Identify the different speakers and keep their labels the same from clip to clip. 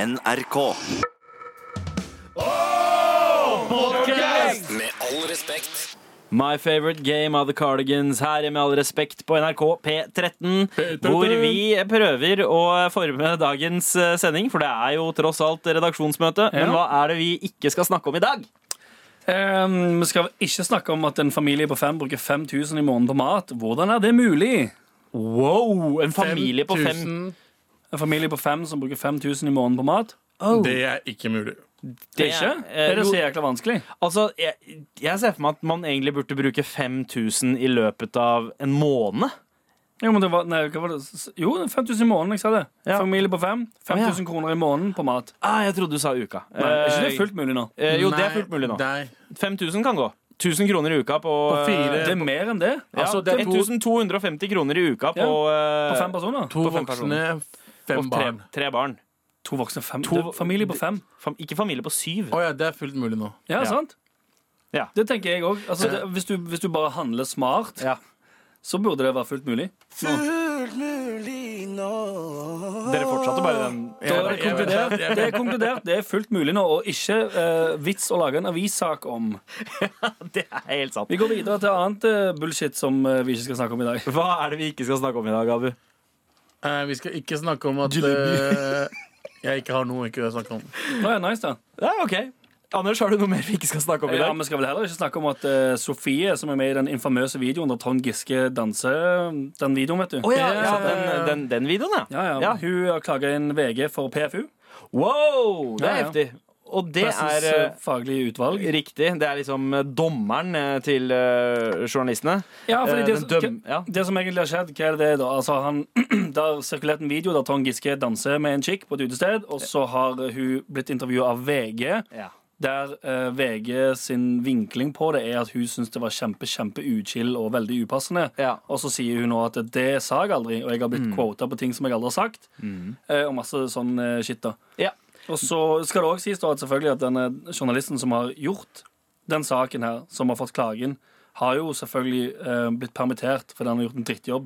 Speaker 1: NRK.
Speaker 2: Med all respekt.
Speaker 3: My favorite game of the cardigans her i Med all respekt på NRK P13, hvor vi prøver å forme dagens eh, sending, for det er jo tross alt redaksjonsmøte. Men
Speaker 4: Ja.
Speaker 3: hva er det vi ikke skal snakke om i dag?
Speaker 4: Ehm, vi skal ikke snakke om at en familie på fem bruker 5000 i måneden på mat. Hvordan er det mulig?
Speaker 3: Wow, en familie på fem
Speaker 5: 5000,
Speaker 4: En familie på fem som bruker 5000 i måneden på mat?
Speaker 5: Det er ikke mulig.
Speaker 4: Det er ikke?
Speaker 3: eh,
Speaker 4: Er det
Speaker 3: jo,
Speaker 4: så jækla vanskelig?
Speaker 3: altså, jeg, jeg ser for meg at man egentlig burde bruke 5000 i løpet av en måned.
Speaker 4: Jo, men det var, nei, hva var det? S- jo 5000 i måneden, jeg sa det.
Speaker 3: Ja.
Speaker 4: Familie på fem. 5000 kroner i måneden på mat.
Speaker 3: Ah, jeg trodde du sa uka.
Speaker 4: Nei, er ikke det
Speaker 3: Eh,
Speaker 4: fullt mulig nå?
Speaker 3: eh, jo, det er
Speaker 5: Nei,
Speaker 3: fullt mulig nå.
Speaker 5: Nei.
Speaker 3: 5000 kan gå. 1000 kroner i uka på,
Speaker 5: På fire.
Speaker 3: eh,
Speaker 4: Det er mer enn det.
Speaker 3: ja,
Speaker 5: Altså, det er to-
Speaker 3: 1250 kroner i uka på, eh,
Speaker 4: På fem personer.
Speaker 5: To
Speaker 3: På fem
Speaker 5: voksne,
Speaker 3: på
Speaker 5: fem
Speaker 3: tre,
Speaker 5: barn.
Speaker 3: tre barn.
Speaker 4: To voksne, fem.
Speaker 3: To-
Speaker 4: det er familie på fem.
Speaker 3: Fam, ikke familie på syv.
Speaker 5: Å ja, det er fullt mulig nå.
Speaker 4: Ja,
Speaker 3: Ja.
Speaker 4: sant?
Speaker 3: Ja.
Speaker 4: Det tenker jeg òg. Altså, det- hvis, du- hvis du bare handler smart,
Speaker 3: Ja.
Speaker 4: så burde det være fullt mulig.
Speaker 3: Dere fortsatte bare den.
Speaker 4: Da er det
Speaker 5: jeg vet-
Speaker 4: konkludert. Det er konkludert. Det er fullt mulig nå, og ikke eh, vits å lage en avissak om.
Speaker 3: Det er helt sant.
Speaker 4: Vi går videre til annet eh, bullshit som eh, vi ikke skal snakke om i dag.
Speaker 3: Hva er det vi ikke skal snakke om i dag, Abu?
Speaker 5: Eh, vi skal ikke snakke om at eh, jeg ikke har noe jeg ikke vil snakke om.
Speaker 4: Nå er det nice, da.
Speaker 3: Ja, ok. Anders, har du noe mer vi ikke skal snakke om i
Speaker 4: Ja,
Speaker 3: dag?
Speaker 4: Vi skal vel heller ikke snakke om at eh, Sofie, som er med i den infamøse videoen der Trond Giske danser eh, Den videoen, vet du.
Speaker 3: Å ja, ja, den, den, den videoen, ja.
Speaker 4: Ja, ja.
Speaker 3: Ja.
Speaker 4: Hun har klaga inn VG for PFU.
Speaker 3: Wow, det er
Speaker 4: Ja, ja.
Speaker 3: heftig. Og det
Speaker 4: Pressens
Speaker 3: er
Speaker 4: eh,
Speaker 3: eh,
Speaker 4: faglige utvalg.
Speaker 3: riktig. Det er liksom eh, dommeren eh, til eh, journalistene.
Speaker 4: Ja, fordi
Speaker 3: Eh,
Speaker 4: det,
Speaker 3: den døm-
Speaker 4: hva-
Speaker 3: ja.
Speaker 4: det som egentlig har skjedd, hva er det da? Altså, han, det har sirkulert en video der Trond Giske danser med en chick på et utested, og så har eh, hun blitt intervjua av VG,
Speaker 3: Ja.
Speaker 4: der eh, VG sin vinkling på det er at hun syns det var kjempe, kjempe uchill og veldig upassende.
Speaker 3: Ja.
Speaker 4: Og så sier hun nå at det sa jeg aldri, og jeg har
Speaker 3: Mm.
Speaker 4: blitt quota på ting som jeg aldri har sagt. eh, Og masse sånn eh, shit, da.
Speaker 3: Ja.
Speaker 4: Og så skal det òg sies da at selvfølgelig at denne journalisten som har gjort den saken her, som har fått klagen, har jo selvfølgelig eh, blitt permittert fordi han har gjort en drittjobb.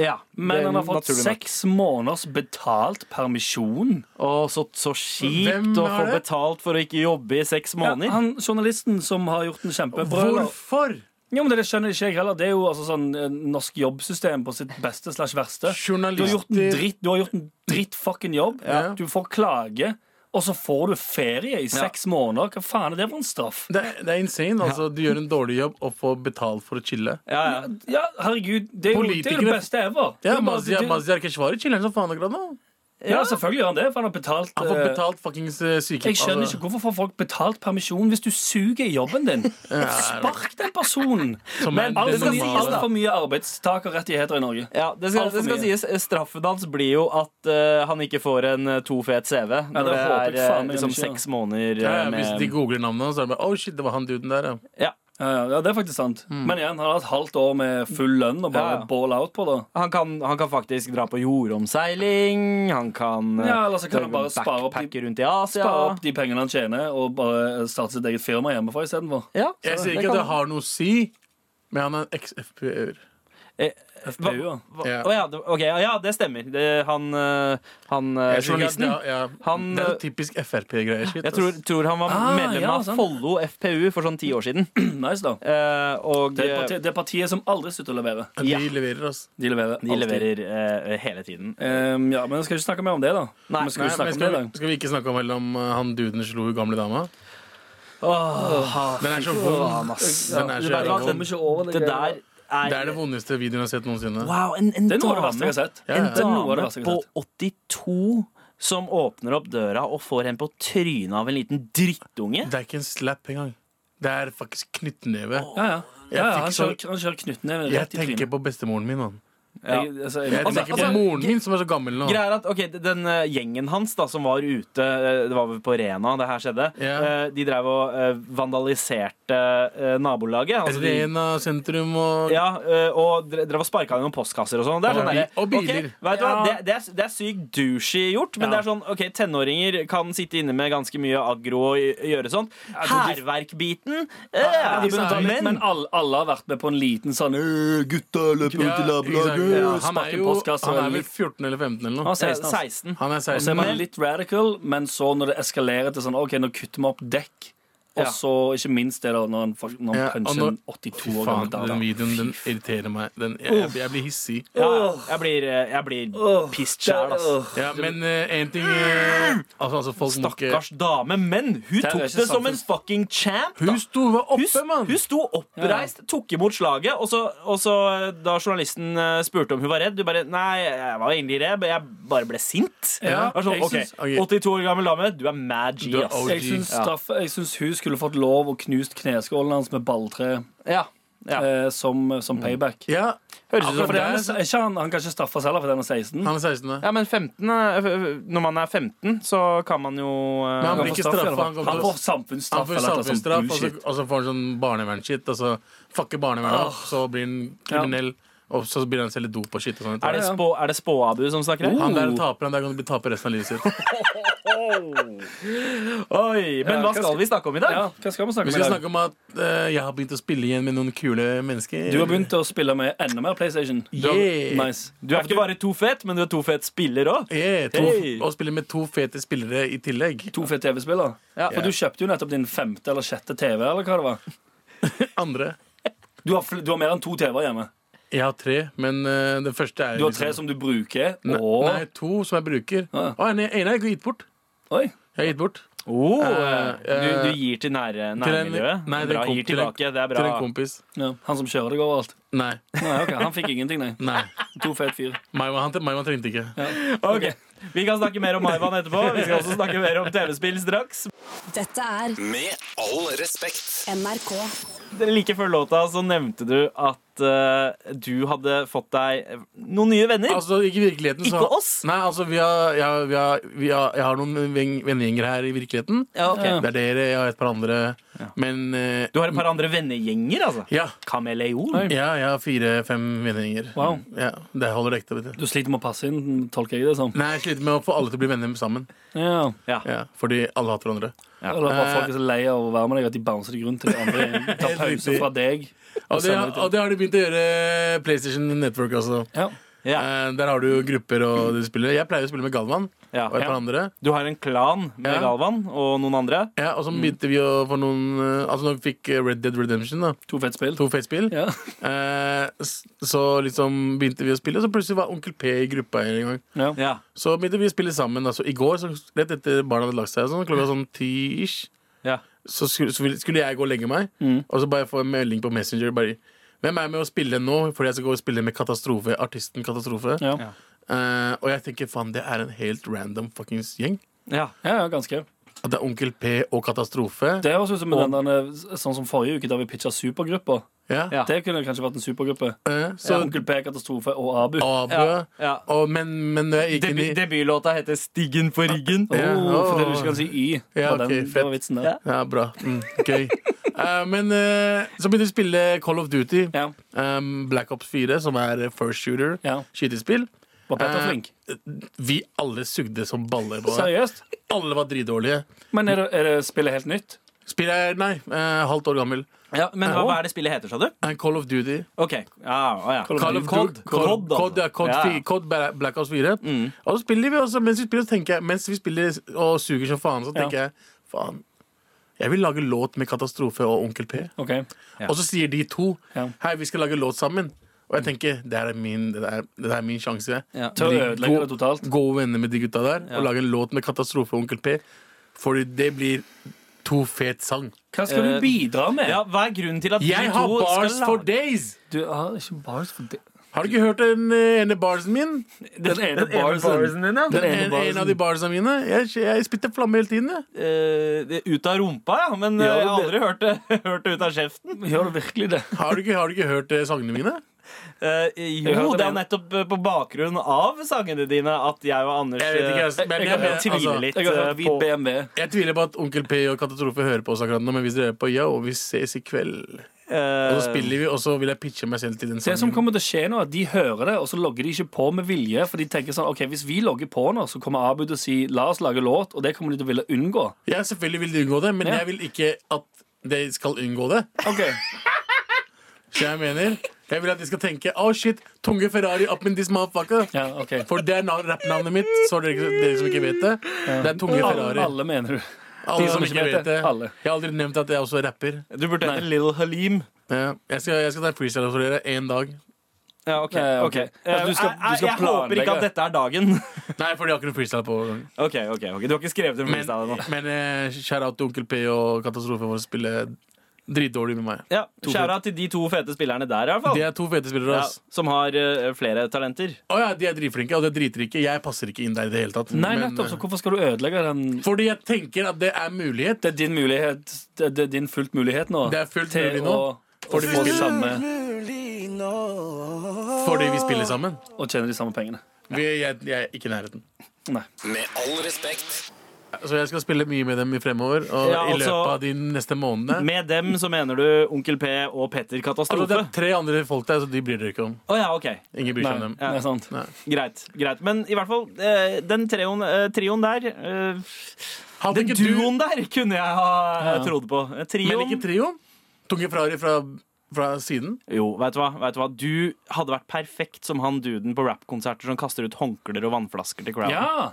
Speaker 3: ja.
Speaker 4: Men
Speaker 3: Det er
Speaker 4: han har fått
Speaker 3: naturlig nok.
Speaker 4: seks måneders betalt permisjon.
Speaker 3: Å, så, så
Speaker 5: Hvem
Speaker 3: kjipt å
Speaker 5: har
Speaker 3: få
Speaker 5: det?
Speaker 3: betalt for å ikke jobbe i seks måneder.
Speaker 4: han journalisten som har gjort en kjempebrøl.
Speaker 5: Hvorfor?
Speaker 4: Jo, men Det skjønner ikke jeg heller. Det er jo altså sånn eh, norsk jobbsystem på sitt beste slash verste. Du har gjort en
Speaker 5: Journalister
Speaker 4: dritt, du har gjort en dritt fucking jobb.
Speaker 5: Ja.
Speaker 4: Du får klage, og så får du ferie i seks måneder. Hva faen er det for en straff?
Speaker 5: det, er- det er insane. Altså, du gjør en dårlig jobb og får betalt for å chille.
Speaker 3: Ja, ja.
Speaker 4: Ja, herregud, det er jo det, er jo det
Speaker 5: Politikere-
Speaker 4: beste ever. Det
Speaker 5: Ja,
Speaker 4: er bare-
Speaker 5: Mazyar
Speaker 3: altså,
Speaker 4: det-
Speaker 5: Mazyar Keshvari chiller som faen akkurat nå.
Speaker 4: ja, selvfølgelig gjør han det, for han har betalt.
Speaker 5: Han får
Speaker 4: eh,
Speaker 5: betalt fuckings eh, syke...
Speaker 4: jeg skjønner ikke Hvorfor får folk betalt permisjon hvis du suger i jobben din? Spark den personen!
Speaker 5: Som
Speaker 4: Men
Speaker 5: er det
Speaker 4: altfor mye,
Speaker 5: normale.
Speaker 4: alt for mye arbeidstakerrettigheter i Norge.
Speaker 3: Ja, det skal,
Speaker 4: Alt for
Speaker 3: det skal
Speaker 4: mye.
Speaker 3: sies. eh, Straffen hans blir jo at eh, han ikke får en eh, to fet CV. Når det,
Speaker 4: håper jeg
Speaker 3: er eh,
Speaker 4: faen meg
Speaker 3: liksom
Speaker 4: ikke, da.
Speaker 3: seks måneder
Speaker 5: Ja,
Speaker 3: eh,
Speaker 5: ja, hvis de
Speaker 3: med
Speaker 5: googler navnet hans, så er det bare Oh shit, det var han duden der, ja.
Speaker 3: ja.
Speaker 4: Ja, ja, ja, det er faktisk sant.
Speaker 5: Mm.
Speaker 4: Men igjen, han har hatt halvt år med full lønn og bare
Speaker 3: Ja, ja.
Speaker 4: ball out på det.
Speaker 3: han, kan, han kan faktisk dra på jordomseiling. Han kan, eh,
Speaker 4: Ja, eller så kan han bare spare opp de-
Speaker 3: backpacke rundt i Asia.
Speaker 4: Spare opp de pengene han tjener, og bare starte sitt eget firma hjemmefra istedenfor.
Speaker 3: Ja,
Speaker 5: Jeg
Speaker 3: så
Speaker 5: sier ikke
Speaker 3: kan
Speaker 5: at det
Speaker 3: han.
Speaker 5: har noe å si, men han er en eks-FPU-er.
Speaker 4: FPU-er.
Speaker 3: Hva-
Speaker 5: Ja.
Speaker 3: Å ja, det, ok, ja, ja, det stemmer. Det, han eh, han eh,
Speaker 5: Jeg tror ikke at
Speaker 3: journalisten.
Speaker 5: det- ja,
Speaker 3: Han,
Speaker 5: det er
Speaker 3: eh,
Speaker 5: typisk Frp-greier. shit,
Speaker 3: Jeg tror,
Speaker 5: ass.
Speaker 3: tror han var
Speaker 4: Ah,
Speaker 3: medlem
Speaker 4: ja,
Speaker 3: av
Speaker 4: sant.
Speaker 3: Follo FPU for sånn ti år siden.
Speaker 4: Nice, da.
Speaker 3: Eh, og
Speaker 4: Det er,
Speaker 3: eh,
Speaker 4: partiet, det er partiet som aldri slutter å levere.
Speaker 5: De
Speaker 3: ja.
Speaker 5: leverer, ass.
Speaker 4: De leverer.
Speaker 3: de leverer eh, hele tiden.
Speaker 4: Um, ja, men jeg skal ikke snakke mer om det, da.
Speaker 3: Nei,
Speaker 4: Men skal vi
Speaker 5: Nei, men
Speaker 4: snakke om det i
Speaker 5: skal,
Speaker 4: dag?
Speaker 5: skal vi ikke snakke om, heller om eh, han duden slo hun gamle dama?
Speaker 3: Åh,
Speaker 5: Den er så
Speaker 3: faen,
Speaker 5: vond.
Speaker 3: ass.
Speaker 5: Den er så
Speaker 3: vet
Speaker 5: jævla
Speaker 3: hva,
Speaker 5: vond.
Speaker 3: den- Det der er,
Speaker 5: Det er det vondeste videoen jeg har sett noensinne.
Speaker 3: Wow, en, en
Speaker 4: Det er noe av
Speaker 3: dame,
Speaker 4: det verste jeg har sett.
Speaker 5: Ja,
Speaker 3: en
Speaker 5: ja.
Speaker 4: Det er noe av det
Speaker 3: dame
Speaker 4: verste jeg
Speaker 3: på
Speaker 4: har
Speaker 3: 82 som åpner opp døra og får en på trynet av en liten drittunge.
Speaker 5: Det er ikke en slap engang. Det er faktisk knyttneve.
Speaker 4: Ja, ja. ja, ja
Speaker 5: Jeg
Speaker 4: han
Speaker 5: fikk så-
Speaker 4: kjører, han kjører knyttneve
Speaker 5: Jeg
Speaker 4: rett i
Speaker 5: tenker
Speaker 4: trynet.
Speaker 5: på bestemoren min. Man.
Speaker 4: Jeg, altså, jeg,
Speaker 5: Jeg
Speaker 4: altså,
Speaker 5: tenker på moren min, som er så gammel nå.
Speaker 3: Greia er at, ok, Den eh, gjengen hans da, som var ute eh, Det var vel på Rena det her skjedde.
Speaker 5: Ja.
Speaker 3: eh, de drev og eh, vandaliserte eh, nabolaget. Altså, de,
Speaker 5: Rena sentrum og
Speaker 3: ja, eh, og dre- drev og sparka inn noen postkasser og sånn. Det er
Speaker 5: Og
Speaker 3: sånn
Speaker 5: bi-
Speaker 3: derre,
Speaker 5: og biler.
Speaker 3: ok, vet du hva?
Speaker 4: Ja.
Speaker 3: Det, det, er, det er sykt douchey gjort, men det er sånn ok, tenåringer kan sitte inne med ganske mye aggro og gj- gjøre sånt.
Speaker 4: tror de-
Speaker 3: Hærverkbiten eh,
Speaker 4: altså,
Speaker 5: Altså,
Speaker 4: de begynner å ta litt,
Speaker 3: Men
Speaker 4: men alle, alle har vært med på en liten sånn «Øh, Gutta løper rundt i
Speaker 5: Ja,
Speaker 4: nabolaget,
Speaker 5: Ja, han er
Speaker 4: sparke
Speaker 5: jo
Speaker 4: postkassa
Speaker 5: altså. han er vel
Speaker 4: litt.
Speaker 5: 14 eller 15 eller
Speaker 3: Han
Speaker 5: noe.
Speaker 3: var 16.
Speaker 4: Ja,
Speaker 3: altså. 16.
Speaker 5: Han er
Speaker 4: Og så
Speaker 5: 16.
Speaker 4: er man
Speaker 3: Men-
Speaker 4: litt radical, men så når det eskalerer til sånn OK, nå kutter vi opp dekk. Og
Speaker 3: Ja.
Speaker 4: så ikke minst det da når han, fak- når han
Speaker 5: Ja, og
Speaker 4: puncher
Speaker 5: når-
Speaker 4: en 82
Speaker 5: Fy
Speaker 4: år
Speaker 5: faen,
Speaker 4: gammel
Speaker 5: den
Speaker 4: dame.
Speaker 5: videoen den irriterer meg. Den, jeg, jeg blir hissig.
Speaker 3: Ja, ja. jeg blir, eh, jeg blir pissed sjæl, altså.
Speaker 5: Ja, men én ting eh, altså, altså, folk må ikke
Speaker 3: Stakkars dame. Men hun
Speaker 4: er
Speaker 3: tok
Speaker 4: ikke
Speaker 3: det som en
Speaker 4: samfunns-
Speaker 3: fucking champ, da.
Speaker 5: Hun sto var
Speaker 3: Hun,
Speaker 5: oppe, mann!
Speaker 3: hun sto oppreist, tok imot slaget, og så, og så eh, da journalisten eh, spurte om hun var redd, du bare Nei, jeg var egentlig redd, men jeg bare ble sint.
Speaker 4: Ja,
Speaker 3: Det var sånn,
Speaker 4: jeg
Speaker 3: ok,
Speaker 4: syns-
Speaker 5: ok.
Speaker 3: 82 år gammel dame, du er mad G,
Speaker 5: Du er
Speaker 3: ass.
Speaker 5: OG.
Speaker 4: Jeg syns, straff, jeg syns hun skulle fått lov å knust kneskålen hans med balltre
Speaker 3: Ja. ja. Mm.
Speaker 4: eh, som, som payback.
Speaker 5: Ja,
Speaker 3: Høres ut
Speaker 5: akkurat
Speaker 3: som
Speaker 4: For
Speaker 5: der-
Speaker 4: den er, ikke han, han kan ikke straffes heller for den er 16.
Speaker 5: han er 16. da.
Speaker 3: Ja, men 15, eh, f- f- når man er 15, så kan man jo eh,
Speaker 5: Men han
Speaker 4: Han
Speaker 5: blir
Speaker 4: får
Speaker 5: ikke
Speaker 4: straff,
Speaker 5: straffa.
Speaker 4: eller hva?
Speaker 5: Han,
Speaker 4: Han
Speaker 5: kommer
Speaker 4: får
Speaker 5: til å- han
Speaker 4: samfunnsstraff.
Speaker 5: får
Speaker 4: eller et eller annet
Speaker 5: samfunnsstraff, og,
Speaker 4: bullshit.
Speaker 5: så- og så får han sånn barnevernsshit. Og så fucker barnevernet opp, så blir han kriminell, og så begynner han å selge dop og shit. Og sånt.
Speaker 3: Er det, spå, er det spåabu som snakker
Speaker 4: Uh.
Speaker 3: her?
Speaker 5: Han der
Speaker 4: Oh.
Speaker 5: er taper, han der kan bli taper resten av livet sitt.
Speaker 3: Oi, Men hva
Speaker 4: Ja, hva
Speaker 3: skal
Speaker 4: skal-
Speaker 3: vi snakke om i dag?
Speaker 4: Ja, hva skal vi
Speaker 5: Vi
Speaker 4: snakke om
Speaker 5: skal
Speaker 4: i dag?
Speaker 5: snakke om at eh, jeg har begynt å spille igjen med noen kule mennesker.
Speaker 4: Du har begynt å spille med enda mer PlayStation.
Speaker 5: Yeah.
Speaker 4: Nice.
Speaker 3: Du er ikke bare to fet, men du er to fet spiller òg.
Speaker 5: Yeah, Eh, to,
Speaker 3: Hey.
Speaker 5: Og spiller med to fete spillere i tillegg.
Speaker 4: To fete TV-spillere.
Speaker 3: Ja.
Speaker 4: For du kjøpte jo nettopp din femte eller sjette TV. eller hva det var
Speaker 5: Andre.
Speaker 4: Du har, fl- du har mer enn to TV-er hjemme.
Speaker 5: Jeg har tre, men eh, den første er
Speaker 4: Du har tre som du bruker.
Speaker 5: Nei,
Speaker 4: og
Speaker 5: nei, to som jeg bruker.
Speaker 4: Ah.
Speaker 5: Å, en, en har jeg gitt bort.
Speaker 4: Oi.
Speaker 5: Jeg har gitt bort
Speaker 3: Oh,
Speaker 5: Eh,
Speaker 3: du,
Speaker 5: eh,
Speaker 3: du gir til nære,
Speaker 5: til en-
Speaker 3: nærmiljøet?
Speaker 5: nei, det
Speaker 3: bra,
Speaker 5: kom
Speaker 3: gir
Speaker 5: til en-
Speaker 3: tilbake. Det er bra.
Speaker 5: til en kompis.
Speaker 4: Ja. Han som kjører deg overalt.
Speaker 5: Nei.
Speaker 4: Nei, ok, Han fikk ingenting, nei.
Speaker 5: nei.
Speaker 4: To fet fyr.
Speaker 5: Maiwan han, Maiwan trengte ikke.
Speaker 3: Ok. Vi kan snakke mer om Maivan etterpå. Vi skal også snakke mer om TV-spill straks.
Speaker 1: Dette er
Speaker 2: Med all respekt.
Speaker 1: NRK.
Speaker 3: Like før låta så nevnte du at eh, du hadde fått deg noen nye venner.
Speaker 5: Altså, ikke i virkeligheten. så-
Speaker 3: Ikke oss?
Speaker 5: Nei, altså, vi har, jeg, har- vi har, vi har, jeg har noen veng- vennegjenger her i virkeligheten.
Speaker 3: Ja, ok.
Speaker 5: Det er dere, jeg har et par andre. Men eh,
Speaker 3: Du har et par andre vennegjenger, altså.
Speaker 5: ja,
Speaker 3: Kameleon.
Speaker 5: ja, jeg har fire-fem vennegjenger.
Speaker 4: Wow.
Speaker 5: Ja, det holder det ekte. vet du.
Speaker 4: Du sliter med å passe inn, tolker jeg det som.
Speaker 5: Nei, jeg sliter med å få alle til å bli venner sammen.
Speaker 4: Ja.
Speaker 3: Ja.
Speaker 5: Ja, fordi alle hater hverandre.
Speaker 4: Eller
Speaker 3: Eh.
Speaker 4: bare folk er så lei av å være med deg at de bouncer deg rundt til de andre. Tar
Speaker 5: Helt
Speaker 4: pause
Speaker 5: riktig.
Speaker 4: fra deg.
Speaker 5: Og det,
Speaker 4: sender det til-
Speaker 5: og det har de begynt å gjøre PlayStation Network også.
Speaker 4: Ja.
Speaker 3: Ja.
Speaker 5: Eh, der har du jo grupper og du spiller. Jeg pleier å spille med Galvan
Speaker 3: Ja.
Speaker 5: og et par andre.
Speaker 3: Du har en klan med
Speaker 5: Ja.
Speaker 3: Galvan og noen andre.
Speaker 5: Ja, og så begynte vi å få noen eh, Altså når vi fikk eh, Red Dead Redemption, da
Speaker 4: To fett spill.
Speaker 5: to Fate-spill,
Speaker 4: Ja.
Speaker 5: eh, s- så liksom begynte vi å spille, og så plutselig var Onkel P i gruppa en gang.
Speaker 4: Ja.
Speaker 3: Ja.
Speaker 5: Så begynte vi å spille sammen. Altså, I går, så rett etter barna hadde lagt seg, sånn, klokka sånn ti-ish,
Speaker 3: Ja.
Speaker 5: så skulle, så ville- skulle jeg gå og legge meg,
Speaker 4: Mm.
Speaker 5: og så bare få en melding på Messenger. bare hvem er med å spille nå? Fordi jeg skal gå og spille med Katastrofe, artisten Katastrofe.
Speaker 4: Ja.
Speaker 3: Ja.
Speaker 5: Eh, og jeg tenker faen, det er en helt random fuckings gjeng.
Speaker 3: Ja.
Speaker 4: Ja, ja, ganske.
Speaker 5: At det er Onkel P og Katastrofe.
Speaker 4: Det høres ut som den derne- sånn som forrige uke, da vi pitcha supergrupper.
Speaker 5: ja.
Speaker 3: Ja.
Speaker 4: Det kunne kanskje vært en supergruppe.
Speaker 5: Eh,
Speaker 4: Så
Speaker 5: så
Speaker 4: Onkel P, Katastrofe og Abu.
Speaker 5: Abu
Speaker 3: Ja, ja.
Speaker 5: Og, men, men når jeg gikk inn i
Speaker 3: Debut, debutlåta heter 'Stiggen på ryggen'.
Speaker 4: Oh,
Speaker 5: Ja,
Speaker 4: for det
Speaker 5: åh.
Speaker 4: du ikke kan si Y.
Speaker 5: Ja,
Speaker 4: var den,
Speaker 5: ok,
Speaker 4: det
Speaker 5: fett.
Speaker 4: var vitsen der.
Speaker 3: Ja.
Speaker 5: Ja, bra. Mm, gøy. Eh, men eh, så begynte vi å spille Call of Duty.
Speaker 4: Ja.
Speaker 5: Um, Black Ops 4, som er eh, first shooter.
Speaker 4: Ja.
Speaker 5: Skytespill.
Speaker 4: Var Petter
Speaker 5: Eh,
Speaker 4: flink?
Speaker 5: Vi alle sugde som baller på det.
Speaker 4: Seriøst?
Speaker 5: Alle var dritdårlige.
Speaker 4: Men er det, er det spillet helt nytt?
Speaker 5: Spillet er nei, eh, halvt år gammel.
Speaker 3: Ja, men hva, hva er det spillet heter, sa du?
Speaker 5: Eh, Call of Duty.
Speaker 3: Ok, ja, å ja.
Speaker 5: Call of
Speaker 3: Cod.
Speaker 5: Duty. Call-
Speaker 3: Cod, altså.
Speaker 5: Cod, ja, Cod,
Speaker 3: Ja. Mm.
Speaker 5: fi- Cod Bla- Black Ops 4. Og så spiller vi også, mens vi spiller, så tenker jeg, mens vi spiller og suger som faen, så
Speaker 4: Ja.
Speaker 5: tenker jeg faen. Jeg vil lage låt med Katastrofe og Onkel P.
Speaker 4: Ok,
Speaker 3: Ja.
Speaker 5: Og så sier de to
Speaker 4: Ja.
Speaker 5: Hei, vi skal lage låt sammen. Og jeg tenker det her er min, det der, det der er min sjanse.
Speaker 3: Ja.
Speaker 4: Til å
Speaker 5: Bli
Speaker 4: ødelegge
Speaker 5: god-
Speaker 4: det totalt?
Speaker 5: Gode venner med de gutta der og lage en låt med Katastrofe og Onkel P. Fordi det blir to fet sang.
Speaker 4: Hva skal du
Speaker 3: Eh,
Speaker 4: bidra med?
Speaker 3: Ja, hva er grunnen til at de
Speaker 5: Jeg har
Speaker 3: to
Speaker 5: bars
Speaker 3: skal
Speaker 5: for
Speaker 3: lage-
Speaker 5: days!
Speaker 4: Du har ikke bars for det.
Speaker 5: Har du ikke hørt den eh, ene barsen min?
Speaker 4: Den ene
Speaker 3: ene barsen
Speaker 4: barsen.
Speaker 3: din, ja.
Speaker 5: Den
Speaker 4: ene
Speaker 5: ene,
Speaker 4: barsen.
Speaker 5: en av de barsene mine? Jeg, jeg spytter flamme hele tiden. Jeg.
Speaker 3: Eh, det er ut av rumpa, ja. Men eh,
Speaker 4: Ja,
Speaker 3: jeg har aldri
Speaker 4: det-
Speaker 3: hørt det, hørt det ut av kjeften.
Speaker 4: Gjør du virkelig det?
Speaker 5: Har, du ikke, har du ikke hørt eh, sangene mine?
Speaker 3: Eh, jo,
Speaker 4: hørte
Speaker 3: det er
Speaker 4: det.
Speaker 3: nettopp eh, på bakgrunn av sangene dine at jeg og Anders
Speaker 5: Jeg vet ikke,
Speaker 3: eh,
Speaker 5: jeg- men-
Speaker 3: jeg,
Speaker 5: men-
Speaker 3: tviler
Speaker 5: altså,
Speaker 3: litt
Speaker 4: Jeg har
Speaker 3: eh,
Speaker 4: hørt hvit
Speaker 3: på
Speaker 4: BMW.
Speaker 5: Jeg tviler på at Onkel P og Katastrofe hører på oss akkurat nå, men hvis dere er på yo, vi ses i kveld. Og så
Speaker 3: eh,
Speaker 5: spiller vi, og så vil jeg pitche meg selv til den
Speaker 4: Det som
Speaker 5: sangen.
Speaker 4: kommer til å skje nå, er at de hører det, og så logger de ikke på med vilje. For de tenker sånn, ok, hvis vi logger på nå, så kommer Abu til å si la oss lage låt, og det kommer de til å ville unngå.
Speaker 5: Ja, selvfølgelig vil de unngå det, men
Speaker 4: Ja.
Speaker 5: jeg vil ikke at de skal unngå det.
Speaker 4: Ok,
Speaker 5: Så jeg mener Jeg vil at de skal tenke Oh shit, tunge Ferrari up in this motherfucker.
Speaker 4: Ja, ok.
Speaker 5: For det er nav- rappnavnet mitt, så dere, dere som ikke vet det. Det er tunge
Speaker 4: Alle,
Speaker 5: Ferrari.
Speaker 4: alle mener du.
Speaker 5: Alle som ikke vet det.
Speaker 4: Alle.
Speaker 5: Jeg har aldri nevnt at jeg også rapper.
Speaker 3: Du burde hete Little Halim.
Speaker 5: Ja, Jeg skal, jeg skal ta en freestyle for dere en dag.
Speaker 3: Ja, ok.
Speaker 4: Ja, ja,
Speaker 3: ok.
Speaker 4: ok.
Speaker 3: Eh,
Speaker 4: Altså, du skal-
Speaker 3: jeg- jeg-
Speaker 4: du skal
Speaker 3: jeg håper ikke
Speaker 4: planlegge.
Speaker 3: at dette er dagen.
Speaker 5: Nei, for de har ikke noe freestyle på gang.
Speaker 3: ok, ok, ok. Du har ikke skrevet en
Speaker 5: Men,
Speaker 3: freestyle ennå.
Speaker 5: men eh, shout out til Onkel P og Katastrofe for å spille dritdårlig med meg.
Speaker 3: Ja,
Speaker 5: To
Speaker 3: Skjæra til de to fete spillerne der, i hvert fall.
Speaker 5: De er to fete spillere.
Speaker 3: ja,
Speaker 5: ass.
Speaker 3: som har eh, flere talenter.
Speaker 5: Å ja, de er dritflinke, og de er dritrike. Jeg passer ikke inn der i det hele tatt.
Speaker 4: Nei,
Speaker 5: Men,
Speaker 4: nettopp.
Speaker 5: eh,
Speaker 4: Så hvorfor skal du ødelegge den
Speaker 5: fordi jeg tenker at det er mulighet.
Speaker 4: Det er din mulighet Det det er din fullt mulighet nå.
Speaker 5: Det er fullt
Speaker 4: til
Speaker 5: mulig nå.
Speaker 4: å- Å
Speaker 5: Fordi vi
Speaker 4: få de
Speaker 5: spiller-
Speaker 4: samme,
Speaker 5: Fordi vi spiller sammen.
Speaker 4: og tjene de samme pengene.
Speaker 5: Vi, jeg, jeg er ikke i nærheten.
Speaker 4: Nei.
Speaker 2: Med all respekt.
Speaker 5: Så jeg skal spille mye med dem i fremover, og
Speaker 3: Ja,
Speaker 5: i
Speaker 3: altså-
Speaker 5: løpet av de neste månedene.
Speaker 3: Med dem så mener du Onkel P og Petter
Speaker 5: Altså, det
Speaker 3: Katastrofe?
Speaker 5: er tre andre folk der, så de bryr dere ikke om.
Speaker 3: Å ja, ok.
Speaker 5: Ingen bryr
Speaker 4: Nei,
Speaker 5: seg om dem.
Speaker 4: det er sant.
Speaker 5: Nei.
Speaker 3: Greit. greit Men i hvert fall, eh, den trioen, eh, trioen der eh,
Speaker 5: Hadde
Speaker 3: Den
Speaker 5: ikke
Speaker 3: duoen
Speaker 5: du
Speaker 3: der kunne jeg ha
Speaker 4: Ja.
Speaker 3: trodd på. Eh,
Speaker 5: Men
Speaker 3: Trioen
Speaker 5: ikke trioen? Tunge Ferrari fra, fra siden?
Speaker 3: Jo, vet du, hva? vet du hva? Du hadde vært perfekt som han duden på rappkonserter som kaster ut håndklær og vannflasker til crowden.
Speaker 4: Ja!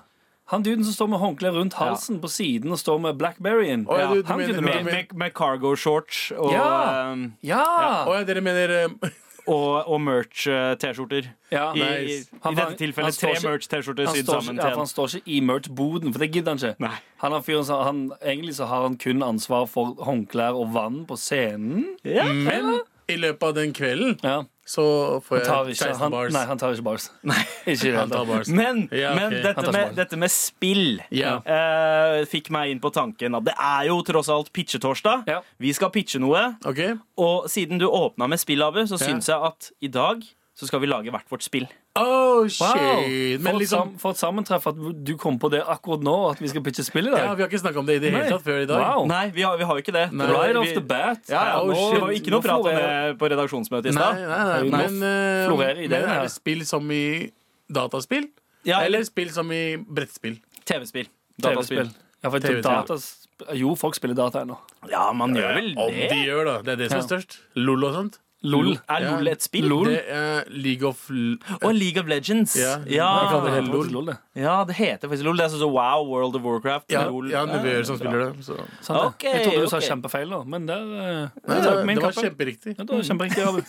Speaker 4: Han duden som står med håndkle rundt halsen på siden og står med blackberryen.
Speaker 5: Å, ja, du- du
Speaker 4: han
Speaker 5: mener-
Speaker 4: kunne
Speaker 5: du
Speaker 3: Med,
Speaker 5: mener-
Speaker 4: med.
Speaker 3: med, med cargo shorts og,
Speaker 4: Ja.
Speaker 3: ehm,
Speaker 5: Å
Speaker 4: Ja!
Speaker 5: ja, dere mener eh,
Speaker 3: og, og merch-T-skjorter.
Speaker 4: ja.
Speaker 3: I, i,
Speaker 5: Nice.
Speaker 4: Ah, Han
Speaker 3: I
Speaker 4: var-
Speaker 3: dette
Speaker 4: han
Speaker 3: tilfellet
Speaker 4: står
Speaker 3: tre
Speaker 4: ikke-
Speaker 3: merch-T-skjorter
Speaker 4: Han
Speaker 3: sydd
Speaker 4: står, ikke,
Speaker 3: sammen
Speaker 4: ja,
Speaker 3: til
Speaker 4: for han
Speaker 3: en.
Speaker 4: står ikke i merch-boden, for det gidder han ikke.
Speaker 3: Nei.
Speaker 4: Han er fyren som han, Egentlig så har han kun ansvar for håndklær og vann på scenen.
Speaker 3: Ja.
Speaker 5: Men i løpet av den kvelden
Speaker 4: Ja.
Speaker 5: så får
Speaker 4: Tar
Speaker 5: jeg
Speaker 4: ikke,
Speaker 5: 16
Speaker 4: han,
Speaker 5: Eh, bars.
Speaker 4: nei, han tar ikke bars. Ikke i det
Speaker 5: Han
Speaker 4: hele
Speaker 5: tar
Speaker 4: tatt.
Speaker 5: bars.
Speaker 3: Men,
Speaker 5: Ja, ok.
Speaker 3: men
Speaker 5: Han
Speaker 3: dette,
Speaker 4: tar
Speaker 3: med,
Speaker 4: smart.
Speaker 3: dette med spill
Speaker 5: Ja.
Speaker 3: eh, fikk meg inn på tanken at det er jo tross alt pitchetorsdag.
Speaker 4: Ja.
Speaker 3: Vi skal pitche noe.
Speaker 5: OK?
Speaker 3: Og siden du åpna med spill, Abu, så
Speaker 5: Ja.
Speaker 3: syns jeg at i dag så skal vi lage hvert vårt spill.
Speaker 5: Oh
Speaker 4: Wow!
Speaker 5: shit!
Speaker 4: for,
Speaker 5: Men
Speaker 4: et
Speaker 5: liksom
Speaker 4: sam, for et sammentreff at du kom på det akkurat nå, at vi skal pitche spill i dag.
Speaker 5: ja, Vi har ikke snakka om det i det hele
Speaker 4: Nei.
Speaker 5: tatt før i dag.
Speaker 4: Wow.
Speaker 3: Nei, vi har, vi har jo ikke det.
Speaker 5: Nei.
Speaker 3: Det var-
Speaker 4: Right
Speaker 3: vi-
Speaker 4: off the bat.
Speaker 3: Ja, ja,
Speaker 4: Her,
Speaker 5: oh,
Speaker 3: nå,
Speaker 4: nå-
Speaker 3: det var jo ikke noe
Speaker 4: nå
Speaker 3: prat om
Speaker 4: florerer-
Speaker 3: det på redaksjonsmøtet i
Speaker 5: Nei,
Speaker 3: stad.
Speaker 5: nei, nei.
Speaker 4: Jo, nå
Speaker 5: Men, eh,
Speaker 4: florerer ideen
Speaker 5: men
Speaker 4: her.
Speaker 5: er det spill som i dataspill?
Speaker 3: Ja,
Speaker 5: Eller
Speaker 3: eller
Speaker 5: spill som i brettspill?
Speaker 3: TV-spill.
Speaker 4: TV-spill.
Speaker 3: Dataspill.
Speaker 4: Ja, for
Speaker 5: TV-spill.
Speaker 4: datas- jo, folk spiller data ennå.
Speaker 3: Ja, man gjør vel
Speaker 5: Om de
Speaker 3: det.
Speaker 5: gjør, da. Det er det som er størst. LOL og sånt.
Speaker 4: LOL.
Speaker 3: Er
Speaker 5: Ja.
Speaker 3: LOL et spill?
Speaker 5: Det er League of L
Speaker 3: Og League of Legends.
Speaker 5: Ja. Jeg kaller
Speaker 3: Ja.
Speaker 5: det LOL.
Speaker 4: det.
Speaker 3: ja, det heter faktisk LOL. Det er sånn som Wow, World of Warcraft.
Speaker 5: ja,
Speaker 3: LOL.
Speaker 5: ja, nevøer som spiller det. Så.
Speaker 4: Sant det?
Speaker 3: Ok,
Speaker 4: jeg trodde du sa
Speaker 3: ok.
Speaker 4: kjempefeil, da, men der eh,
Speaker 5: Nei, det,
Speaker 4: tar min
Speaker 5: det var
Speaker 4: kappe.
Speaker 5: kjemperiktig.
Speaker 4: ja, det var kjemperiktig. Abu.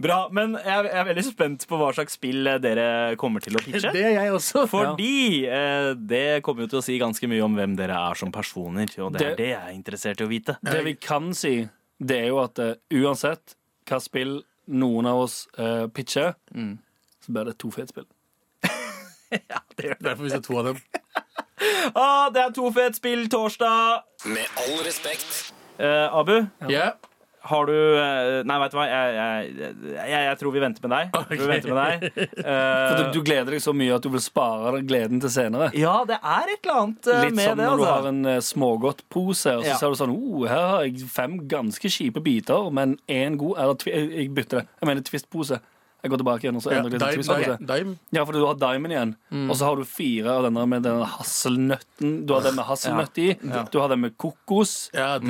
Speaker 3: Bra, men jeg jeg er veldig spent på hva slags spill eh, dere kommer til å pitche.
Speaker 5: Det er jeg også.
Speaker 3: Fordi eh, det kommer jo til å si ganske mye om hvem dere er som personer, og det er
Speaker 4: Det-
Speaker 3: det jeg er interessert i å vite.
Speaker 4: Det vi kan si, det er jo at eh, uansett hva spill noen av oss eh, pitcher,
Speaker 3: Mm.
Speaker 4: så blir det to fete spill.
Speaker 5: Derfor vi ser to av dem.
Speaker 3: Ah, det er to fete spill torsdag!
Speaker 2: Med all respekt.
Speaker 3: Eh, Abu,
Speaker 5: Ja.
Speaker 3: har du eh, Nei, veit du hva, jeg, jeg, jeg, jeg tror vi venter med deg. Jeg Tror vi venter med deg. Eh,
Speaker 4: For du, du gleder deg så mye at du vil spare deg gleden til senere.
Speaker 3: ja, det er et eller annet eh,
Speaker 4: Litt
Speaker 3: med
Speaker 4: som
Speaker 3: det,
Speaker 4: når du har
Speaker 3: altså.
Speaker 4: en eh, smågodtpose, og så
Speaker 3: Ja.
Speaker 4: ser du sånn oh, Her har jeg fem ganske kjipe biter, men én god Eller tvi, jeg- jeg bytter det. Jeg mener Twist-pose. Jeg går tilbake igjen og så
Speaker 5: Ja,
Speaker 4: endrer jeg
Speaker 5: dime,
Speaker 4: til sånn Twist-pose.
Speaker 5: dime, dime.
Speaker 4: Ja, for du har Diamond igjen,
Speaker 3: Mm.
Speaker 4: og så har du fire av denne med denne hasselnøtten. Du har den med hasselnøtt i, du har den med kokos,
Speaker 5: Ja, det,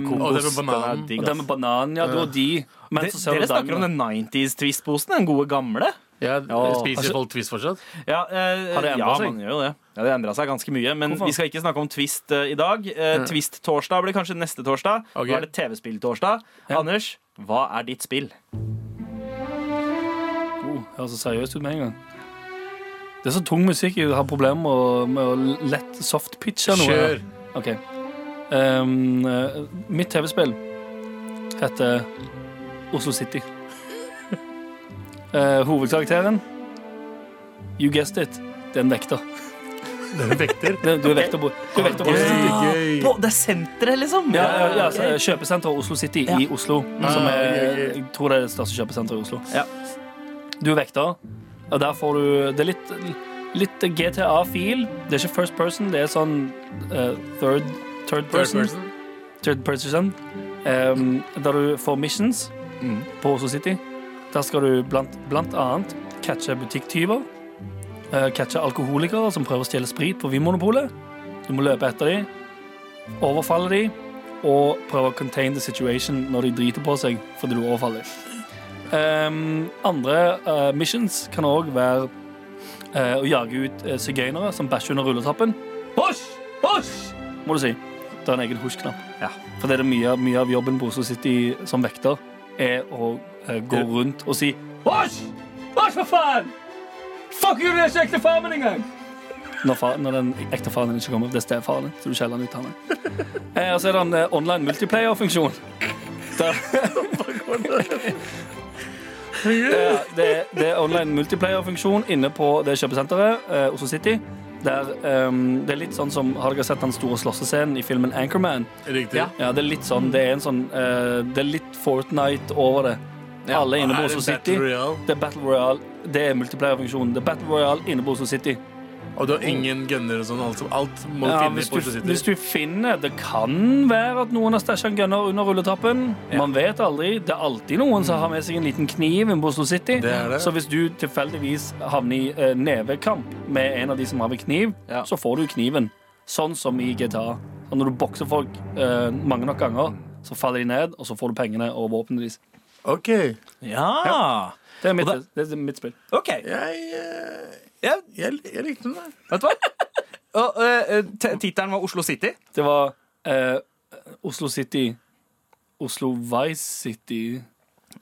Speaker 4: Mm. kokos,
Speaker 5: og det med bananen.
Speaker 3: den er digg.
Speaker 4: og den med banan. Ja, du har de. Men
Speaker 3: De,
Speaker 4: så ser
Speaker 3: dere
Speaker 4: du
Speaker 3: snakker om
Speaker 4: Diamond.
Speaker 3: den 90s-twist-posen, den gode gamle.
Speaker 5: Ja, spiser
Speaker 4: altså-
Speaker 5: folk twist fortsatt?
Speaker 3: Ja, eh,
Speaker 4: Har det endret
Speaker 3: ja,
Speaker 4: seg?
Speaker 3: Man gjør jo det. Ja, det endra seg ganske mye. Men
Speaker 4: Hvorfor? Mm.
Speaker 3: vi skal ikke snakke om Twist eh, i dag. Eh, Twist-torsdag blir kanskje neste torsdag.
Speaker 5: Ok.
Speaker 3: Nå er det TV-spill-torsdag. Anders, hva er ditt spill?
Speaker 4: Oh, høres så seriøst ut med en gang. Det er så tung musikk. Jeg har problemer med å- med å lett softpitche noe.
Speaker 5: Kjør!
Speaker 4: Ok. Ehm, eh, mitt TV-spill heter Oslo City. Eh, hovedkarakteren You guessed it. Det er en vekter.
Speaker 5: Den vekter.
Speaker 4: Det- Du er vekter på du er vekter på Oslo City.
Speaker 5: Gøy, gøy.
Speaker 3: På, det er senteret, liksom!
Speaker 4: Ja, ja, ja, så, eh, kjøpesenter Oslo City i Oslo. Som
Speaker 5: Ah,
Speaker 4: er,
Speaker 5: ok, ok.
Speaker 4: jeg tror det er det største kjøpesenteret i Oslo.
Speaker 3: Ja.
Speaker 4: Du er vekter, og der får du Det er litt, litt GTA-feel. Det er ikke first person, det er sånn eh, third, third
Speaker 5: First
Speaker 4: person.
Speaker 5: person.
Speaker 4: Third person um, Der du får missions På Oslo City Der skal du blant, blant annet Catche butikktyver eh, Catche alkoholikere som prøver å stjele sprit På Vinmonopolet Du må løpe etter dem Overfalle dem Og prøve å contain the situation Når de driter på seg Fordi du overfaller dem Ehm, andre eh, missions kan òg være eh, å jage ut uh, sigøynere som bæsjer under rulletappen. Hosj! Hosj! Må du si. Det er en egen hosj-knapp.
Speaker 3: Ja.
Speaker 4: For det er det mye, mye av jobben på Oslo City som vekter, er å eh, gå rundt og si Hosj! Hosj, for faen! Fuck you, du er ikke ekte faren min engang! Når, fa- når den ekte faren din ikke kommer. Det er stefaren din. Så du skjeller han ut, han er. Eh, og så er det en eh, online multiplayer-funksjon. Der ja, det, det er online multiplayer-funksjon inne på det kjøpesenteret, eh, Oslo City. Der, ehm, det er litt sånn som Har dere sett den store slåssescenen i filmen Anchorman?
Speaker 5: Riktig.
Speaker 3: Ja.
Speaker 4: Ja, Det er litt sånn, det er en sånn eh, Det er litt Fortnite over det. Alle er inne på
Speaker 5: Er det
Speaker 4: Oslo
Speaker 5: Battle
Speaker 4: City.
Speaker 5: Royale?
Speaker 4: Det er Battle Royale. Det er multiplayer-funksjonen. Det er Battle Royale inne på Oslo City.
Speaker 5: Og du har ingen gunner og sånn. Alt, som- alt må
Speaker 4: Ja,
Speaker 5: finne
Speaker 4: hvis,
Speaker 5: på
Speaker 4: du,
Speaker 5: Oslo City.
Speaker 4: hvis du finner Det kan være at noen har stæsja en gunner under rulletappen. Man vet aldri. Det er alltid noen som har med seg en liten kniv inne på Oslo City.
Speaker 5: Det er det.
Speaker 4: Så hvis du tilfeldigvis havner i eh, nevekamp med en av de som har med kniv,
Speaker 3: Ja.
Speaker 4: så får du kniven. Sånn som i GTA. Og når du bokser folk eh, mange nok ganger, så faller de ned, og så får du pengene og våpenet deres.
Speaker 5: OK.
Speaker 3: Ja.
Speaker 4: Det er mitt,
Speaker 3: Og
Speaker 4: det er mitt spill.
Speaker 3: OK.
Speaker 5: Jeg, eh,
Speaker 3: Ja,
Speaker 5: jeg, jeg likte den der.
Speaker 3: vet du hva? Og, eh, t- Tittelen var Oslo City.
Speaker 4: Det var eh, Oslo City Oslo Vice City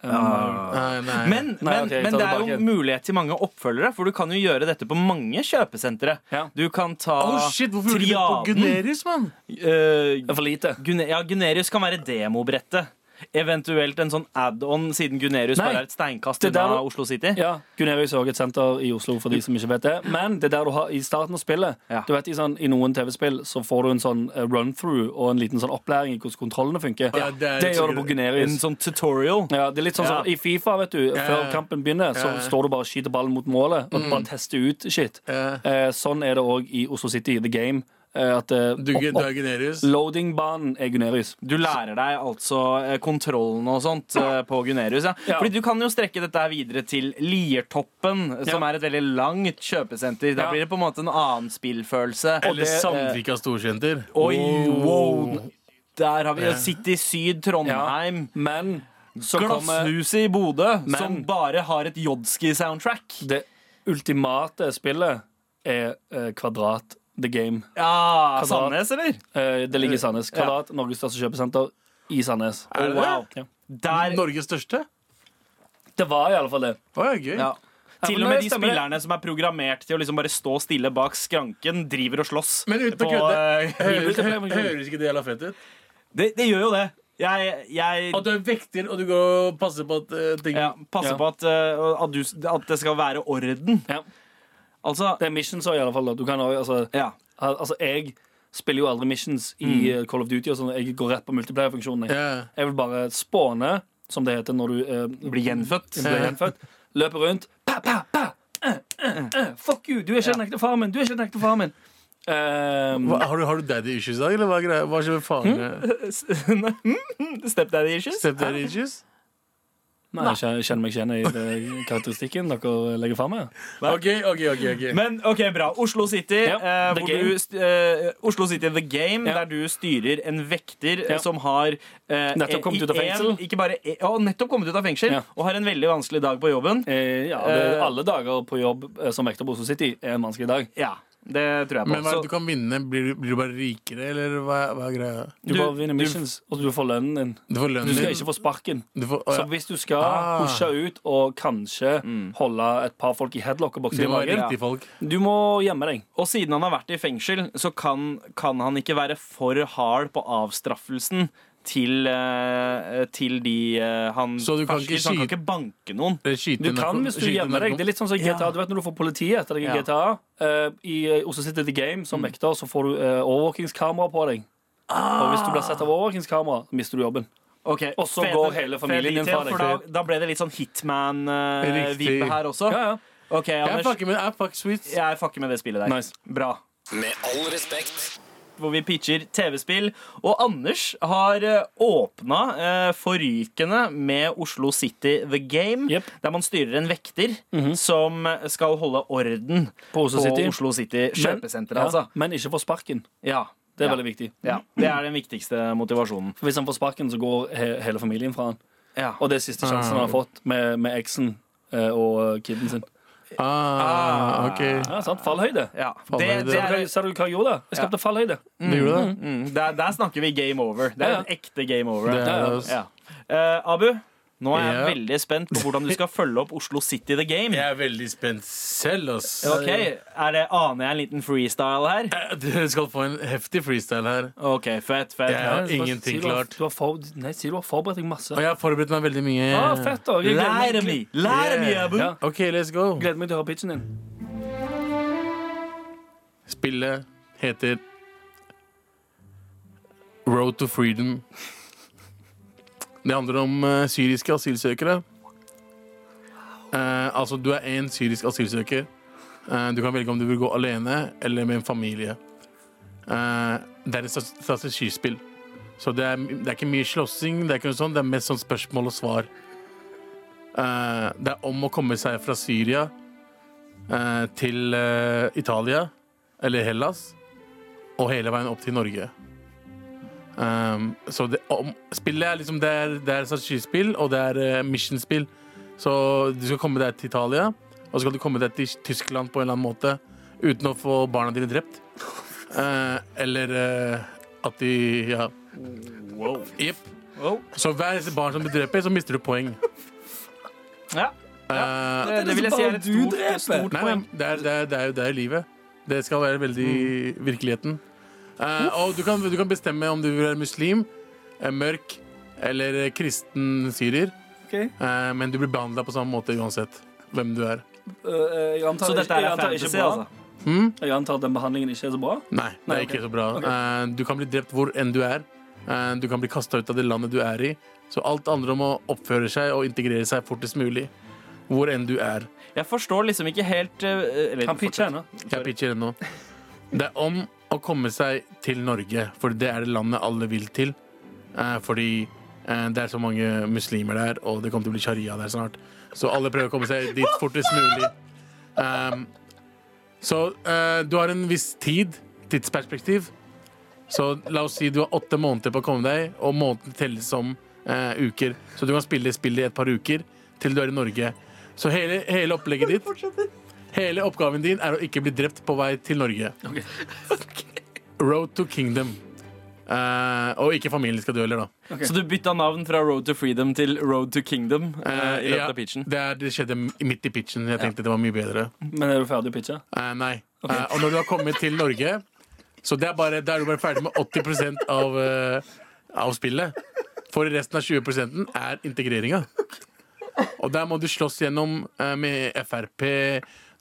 Speaker 4: um,
Speaker 5: Nei, nei.
Speaker 3: Men,
Speaker 4: Nei,
Speaker 3: men,
Speaker 4: ok, jeg
Speaker 3: men
Speaker 4: tar
Speaker 3: det
Speaker 4: det
Speaker 3: er jo
Speaker 4: tilbake.
Speaker 3: mulighet til mange oppfølgere, for du kan jo gjøre dette på mange kjøpesentre.
Speaker 4: Ja.
Speaker 3: Du kan ta
Speaker 4: Ah,
Speaker 5: Oh shit, hvorfor gjorde de det på Gunerius, mann?
Speaker 3: Eh,
Speaker 4: Det er for lite.
Speaker 3: Gune ja, Gunerius kan være demobrettet. Eventuelt en sånn add-on, siden Gunerius
Speaker 4: Nei.
Speaker 3: bare er et steinkast
Speaker 4: Det der
Speaker 3: unna
Speaker 4: var-
Speaker 3: Oslo City.
Speaker 4: Ja, Gunerius er også et senter i Oslo, for de som ikke vet det. Men det er der du har i starten av spillet.
Speaker 3: Ja.
Speaker 4: Du vet, I, sånn, i noen TV-spill så får du en sånn eh, run-through og en liten sånn opplæring i hvordan kontrollene funker.
Speaker 5: Ja,
Speaker 4: det,
Speaker 5: det er litt
Speaker 4: gjør du
Speaker 5: sånn-
Speaker 4: på
Speaker 3: En
Speaker 4: Gunerius.
Speaker 3: sånn tutorial.
Speaker 4: Ja, det er litt sånn som
Speaker 3: Ja.
Speaker 4: I Fifa, vet du. Før
Speaker 5: ja.
Speaker 4: kampen begynner, så
Speaker 5: Ja, ja.
Speaker 4: står du bare og skyter ballen mot målet. Og bare tester ut shit.
Speaker 5: Ja.
Speaker 4: Eh, sånn er det òg i Oslo City, The Game. Eh, at eh,
Speaker 5: Du, du
Speaker 4: opp,
Speaker 5: er
Speaker 4: opp,
Speaker 5: Gunerius?
Speaker 4: loading-banen er Gunerius.
Speaker 3: Du lærer deg altså eh, kontrollene og sånt eh, på Gunerius. Ja.
Speaker 4: Ja.
Speaker 3: Fordi du kan jo strekke dette her videre til Liertoppen, som
Speaker 4: Ja.
Speaker 3: er et veldig langt kjøpesenter. Da
Speaker 4: Ja.
Speaker 3: blir det på en måte en annen spillfølelse.
Speaker 5: Eller
Speaker 4: det- eh,
Speaker 5: Sandvika storsenter?
Speaker 3: Oi, wow! Der har vi jo City Syd, Trondheim.
Speaker 4: Men så kommer
Speaker 3: Glasshuset i Bodø,
Speaker 4: Men-
Speaker 3: som bare har et Jodski-soundtrack.
Speaker 4: Det ultimate spillet er eh, Kvadrat The Game.
Speaker 3: Ja,
Speaker 4: Kvadrat.
Speaker 3: Sandnes, eller?
Speaker 4: Eh, det ligger i Sandnes. Kvadrat, Norges største kjøpesenter i Sandnes.
Speaker 5: Er det
Speaker 3: wow.
Speaker 5: det?
Speaker 4: Ja.
Speaker 3: Der,
Speaker 5: Norges største?
Speaker 4: Det var i alle fall det.
Speaker 5: Å, ja, gøy.
Speaker 3: ja. Til
Speaker 4: men
Speaker 3: og med
Speaker 4: det
Speaker 3: de
Speaker 4: stemmer det.
Speaker 3: spillerne som er programmert til å liksom bare stå stille bak skranken, driver og slåss.
Speaker 5: Men uten å
Speaker 3: på,
Speaker 5: kødde,
Speaker 3: eh,
Speaker 5: høres, hø- høres ikke det jævla fett ut?
Speaker 3: det, det gjør jo det. Jeg, jeg
Speaker 5: At du er vekter, og du går og passer på at eh, ting
Speaker 3: ja, passer
Speaker 4: Ja.
Speaker 3: på at, eh, at, du, at det skal være orden.
Speaker 4: Ja.
Speaker 3: Altså
Speaker 4: Det er missions òg, i alle fall. Da. Du kan, også- altså,
Speaker 3: ja.
Speaker 4: al- altså, jeg spiller jo aldri missions i eh, Call of Duty. Og sånn. Jeg går rett på multiplayer-funksjonen. Jeg.
Speaker 5: Mm. Ja.
Speaker 4: jeg vil bare spåne, som det heter når du eh,
Speaker 3: blir gjenfødt.
Speaker 4: blir gjenfødt. Løpe rundt. Pa, pa, pa. Eh, eh, eh. Fuck you! Du er ikke den ekte faren min! Du er ikke den ekte faren min! Um,
Speaker 5: Hva, har, du, har du daddy issues i dag, eller hva er greia? Hva skjer med faren?
Speaker 3: Stepdaddy mm, issues.
Speaker 5: Stepdaddy issues?
Speaker 4: Nei, jeg kjenner meg ikke igjen i det karakteristikken dere legger fram her.
Speaker 5: OK, OK, OK. ok.
Speaker 3: Men ok, bra. Oslo City,
Speaker 4: Ja,
Speaker 3: eh,
Speaker 4: The
Speaker 3: hvor
Speaker 4: Game.
Speaker 3: du, st- eh, Oslo City The Game,
Speaker 4: Ja.
Speaker 3: der du styrer en vekter eh,
Speaker 4: Ja.
Speaker 3: som har eh,
Speaker 4: Nettopp kommet
Speaker 3: i
Speaker 4: ut av
Speaker 3: en-
Speaker 4: fengsel.
Speaker 3: Ikke bare, e- å, nettopp kommet ut av fengsel
Speaker 4: Ja.
Speaker 3: og har en veldig vanskelig dag på jobben.
Speaker 4: Eh, ja, det,
Speaker 3: Eh,
Speaker 4: alle dager på jobb eh, som vekter på Oslo City er en vanskelig dag.
Speaker 3: Ja, det tror jeg på.
Speaker 5: Men hva er
Speaker 3: Så-
Speaker 5: det du kan vinne? Blir du, blir du bare rikere, eller hva, hva er greia?
Speaker 4: Du,
Speaker 3: Du-
Speaker 4: bare
Speaker 3: du-
Speaker 4: vinner missions, og du får lønnen din.
Speaker 5: Du får
Speaker 4: Du
Speaker 5: lønnen
Speaker 4: skal
Speaker 5: din.
Speaker 4: ikke få sparken.
Speaker 5: Du får, å,
Speaker 4: Så
Speaker 5: ja.
Speaker 4: hvis du skal
Speaker 5: Ah. Mm.
Speaker 4: pushe ut og kanskje holde et par folk i headlock og bokse
Speaker 5: Det
Speaker 4: i
Speaker 5: må være
Speaker 4: magen,
Speaker 5: riktige folk.
Speaker 4: du må gjemme deg.
Speaker 3: Og siden han har vært i fengsel, så kan, kan han ikke være for hard på avstraffelsen til, eh, til de eh, han
Speaker 5: Så du kan
Speaker 3: fersker,
Speaker 5: ikke
Speaker 3: så han kan
Speaker 5: skyte-
Speaker 3: ikke banke noen.
Speaker 5: Eller skyte
Speaker 4: Du
Speaker 5: narko-
Speaker 4: kan hvis du
Speaker 5: skyte
Speaker 4: gjemmer deg.
Speaker 5: narko-
Speaker 4: Det er litt sånn som GTA.
Speaker 3: Ja.
Speaker 4: Du vet når du får politiet etter deg
Speaker 3: Ja.
Speaker 4: i
Speaker 3: Mm.
Speaker 4: GTA. eh, I eh, Oslo City The Game som vekter, så får du eh, overvåkingskamera på deg. Og hvis du blir sett av overvåkingskamera, mister du jobben.
Speaker 3: Ok,
Speaker 4: Og så
Speaker 3: fet-
Speaker 4: går hele familien
Speaker 3: fet
Speaker 4: din fra
Speaker 3: detail,
Speaker 4: deg.
Speaker 3: for Da, da ble det litt sånn
Speaker 5: Riktig.
Speaker 3: Hitman-vipe her også.
Speaker 4: Ja, ja.
Speaker 3: Ok,
Speaker 5: Jeg
Speaker 3: Anders.
Speaker 5: fucker med jeg fuck sweets.
Speaker 3: Jeg fucker med det spillet der.
Speaker 4: Nice.
Speaker 3: Bra.
Speaker 2: Med all respekt.
Speaker 3: Hvor vi pitcher TV-spill. Og Anders har åpna eh, forrykende med Oslo City The Game.
Speaker 4: Jep. Mhm.
Speaker 3: Der man styrer en vekter som skal holde orden
Speaker 4: På Oslo City.
Speaker 3: Oslo City kjøpesenter.
Speaker 4: men,
Speaker 3: altså.
Speaker 4: Ja, men ikke få sparken.
Speaker 3: Ja.
Speaker 4: Det er
Speaker 3: ja.
Speaker 4: veldig viktig.
Speaker 3: Ja, Det er den viktigste motivasjonen.
Speaker 4: For hvis han får sparken, så går he hele familien fra han.
Speaker 3: Ja.
Speaker 4: Og det er siste sjansen
Speaker 3: Ah.
Speaker 4: han har fått med, med eksen eh, og kiden sin.
Speaker 5: Ah, ok.
Speaker 4: Ja, sant? Fallhøyde.
Speaker 3: Ja.
Speaker 5: Faen,
Speaker 3: Det,
Speaker 5: er det-
Speaker 3: det
Speaker 4: Ser
Speaker 3: er,
Speaker 4: du- Ser du hva jeg gjorde? Jeg skapte fallhøyde.
Speaker 5: Du gjorde det?
Speaker 3: mm, der, der snakker vi game over. Det
Speaker 4: Ja, ja.
Speaker 3: er en ekte game over.
Speaker 5: Det er det, ass.
Speaker 3: Ja. Eh, Abu, nå er jeg
Speaker 5: Ja.
Speaker 3: veldig spent på hvordan du skal følge opp Oslo City The Game.
Speaker 5: Jeg er veldig spent selv, ass.
Speaker 3: Ok, er det, Aner jeg en liten freestyle her?
Speaker 5: Eh, Dere skal få en heftig freestyle her.
Speaker 3: OK, fett, fett.
Speaker 5: Jeg har
Speaker 4: Bare
Speaker 5: ingenting
Speaker 4: si du har-
Speaker 5: klart.
Speaker 4: Du har, for, nei, si du har forberedt deg masse.
Speaker 5: Og jeg har forberedt meg veldig mye.
Speaker 4: Ah, fett, da. Jeg
Speaker 3: Lær
Speaker 4: gleder
Speaker 3: av
Speaker 4: meg,
Speaker 3: meg! Lær av meg, Abu!
Speaker 4: Ja.
Speaker 5: OK, let's go.
Speaker 4: gleder meg til å høre pitchen din.
Speaker 5: Spillet heter Road to Freedom. Det handler om eh, syriske asylsøkere. Eh, altså, du er én syrisk asylsøker. Eh, du kan velge om du vil gå alene eller med en familie. Eh, det er et strate- strategispill. Så det er, det er ikke mye slåssing, det er ikke noe sånt, det er mest sånn spørsmål og svar. Eh, det er om å komme seg fra Syria eh, til eh, Italia eller Hellas, og hele veien opp til Norge. Um, så det, om, spillet er liksom Det er, det er strategispill, og det er eh, missionspill. Så du skal komme deg til Italia, og så skal du komme deg til Tyskland på en eller annen måte uten å få barna dine drept. Eh, eller eh, at de Ja. Jepp.
Speaker 3: Wow.
Speaker 5: Så hver eneste barn som du dreper, så mister du poeng.
Speaker 3: Ja.
Speaker 5: Eh,
Speaker 3: Det, det vil jeg si er et
Speaker 4: Du
Speaker 3: stort,
Speaker 4: dreper.
Speaker 3: stort
Speaker 5: Nei,
Speaker 3: poeng.
Speaker 5: men det er, det, er, det, er, jo- det er jo livet. Det skal være veldig virkeligheten. Eh, og du kan, du kan bestemme om du vil være muslim, eh, mørk eller eh, kristen syrer.
Speaker 4: Ok.
Speaker 5: Eh, men du blir behandla på samme måte uansett hvem du er.
Speaker 4: Øh, øh, jeg antar,
Speaker 3: Så dette
Speaker 4: jeg
Speaker 3: er
Speaker 4: antar ikke
Speaker 3: fantasy,
Speaker 4: bra.
Speaker 3: altså?
Speaker 5: Mm?
Speaker 4: Jeg antar at den behandlingen ikke er så bra.
Speaker 5: Nei, det er
Speaker 4: Nei, ok.
Speaker 5: ikke så bra. Eh, du kan bli drept hvor enn du er. Eh, du kan bli kasta ut av det landet du er i. Så alt handler om å oppføre seg og integrere seg fortest mulig. Hvor enn du er.
Speaker 3: Jeg forstår liksom ikke helt eh, eller,
Speaker 4: Han pitcher henne.
Speaker 5: Jeg pitcher ennå. Det er om å komme seg til Norge, for det er det landet alle vil til. Eh, fordi eh, det er så mange muslimer der, og det kommer til å bli sharia der snart. Så alle prøver å komme seg dit fortest mulig. Ehm, så eh, du har en viss tid, tidsperspektiv. Så la oss si du har åtte måneder på å komme deg, og måneden telles som eh, uker. Så du kan spille spillet i et par uker til du er i Norge. Så hele, hele opplegget ditt Hele oppgaven din er å ikke bli drept på vei til Norge. Road to kingdom. Eh, og ikke familien skal dø heller, da.
Speaker 3: Så du bytta navn fra Road to Freedom til Road to Kingdom eh, i løpet
Speaker 5: ja,
Speaker 3: av pitchen?
Speaker 5: det, er, det skjedde midt i pitchen. Jeg tenkte det var mye bedre.
Speaker 4: Men er du ferdig å pitche?
Speaker 5: Eh, nei. Eh, og når du har kommet til Norge, så det er bare, da er du bare ferdig med 80 av, eh, av spillet. For resten av 20 er integreringa. Og der må du slåss gjennom eh, med Frp.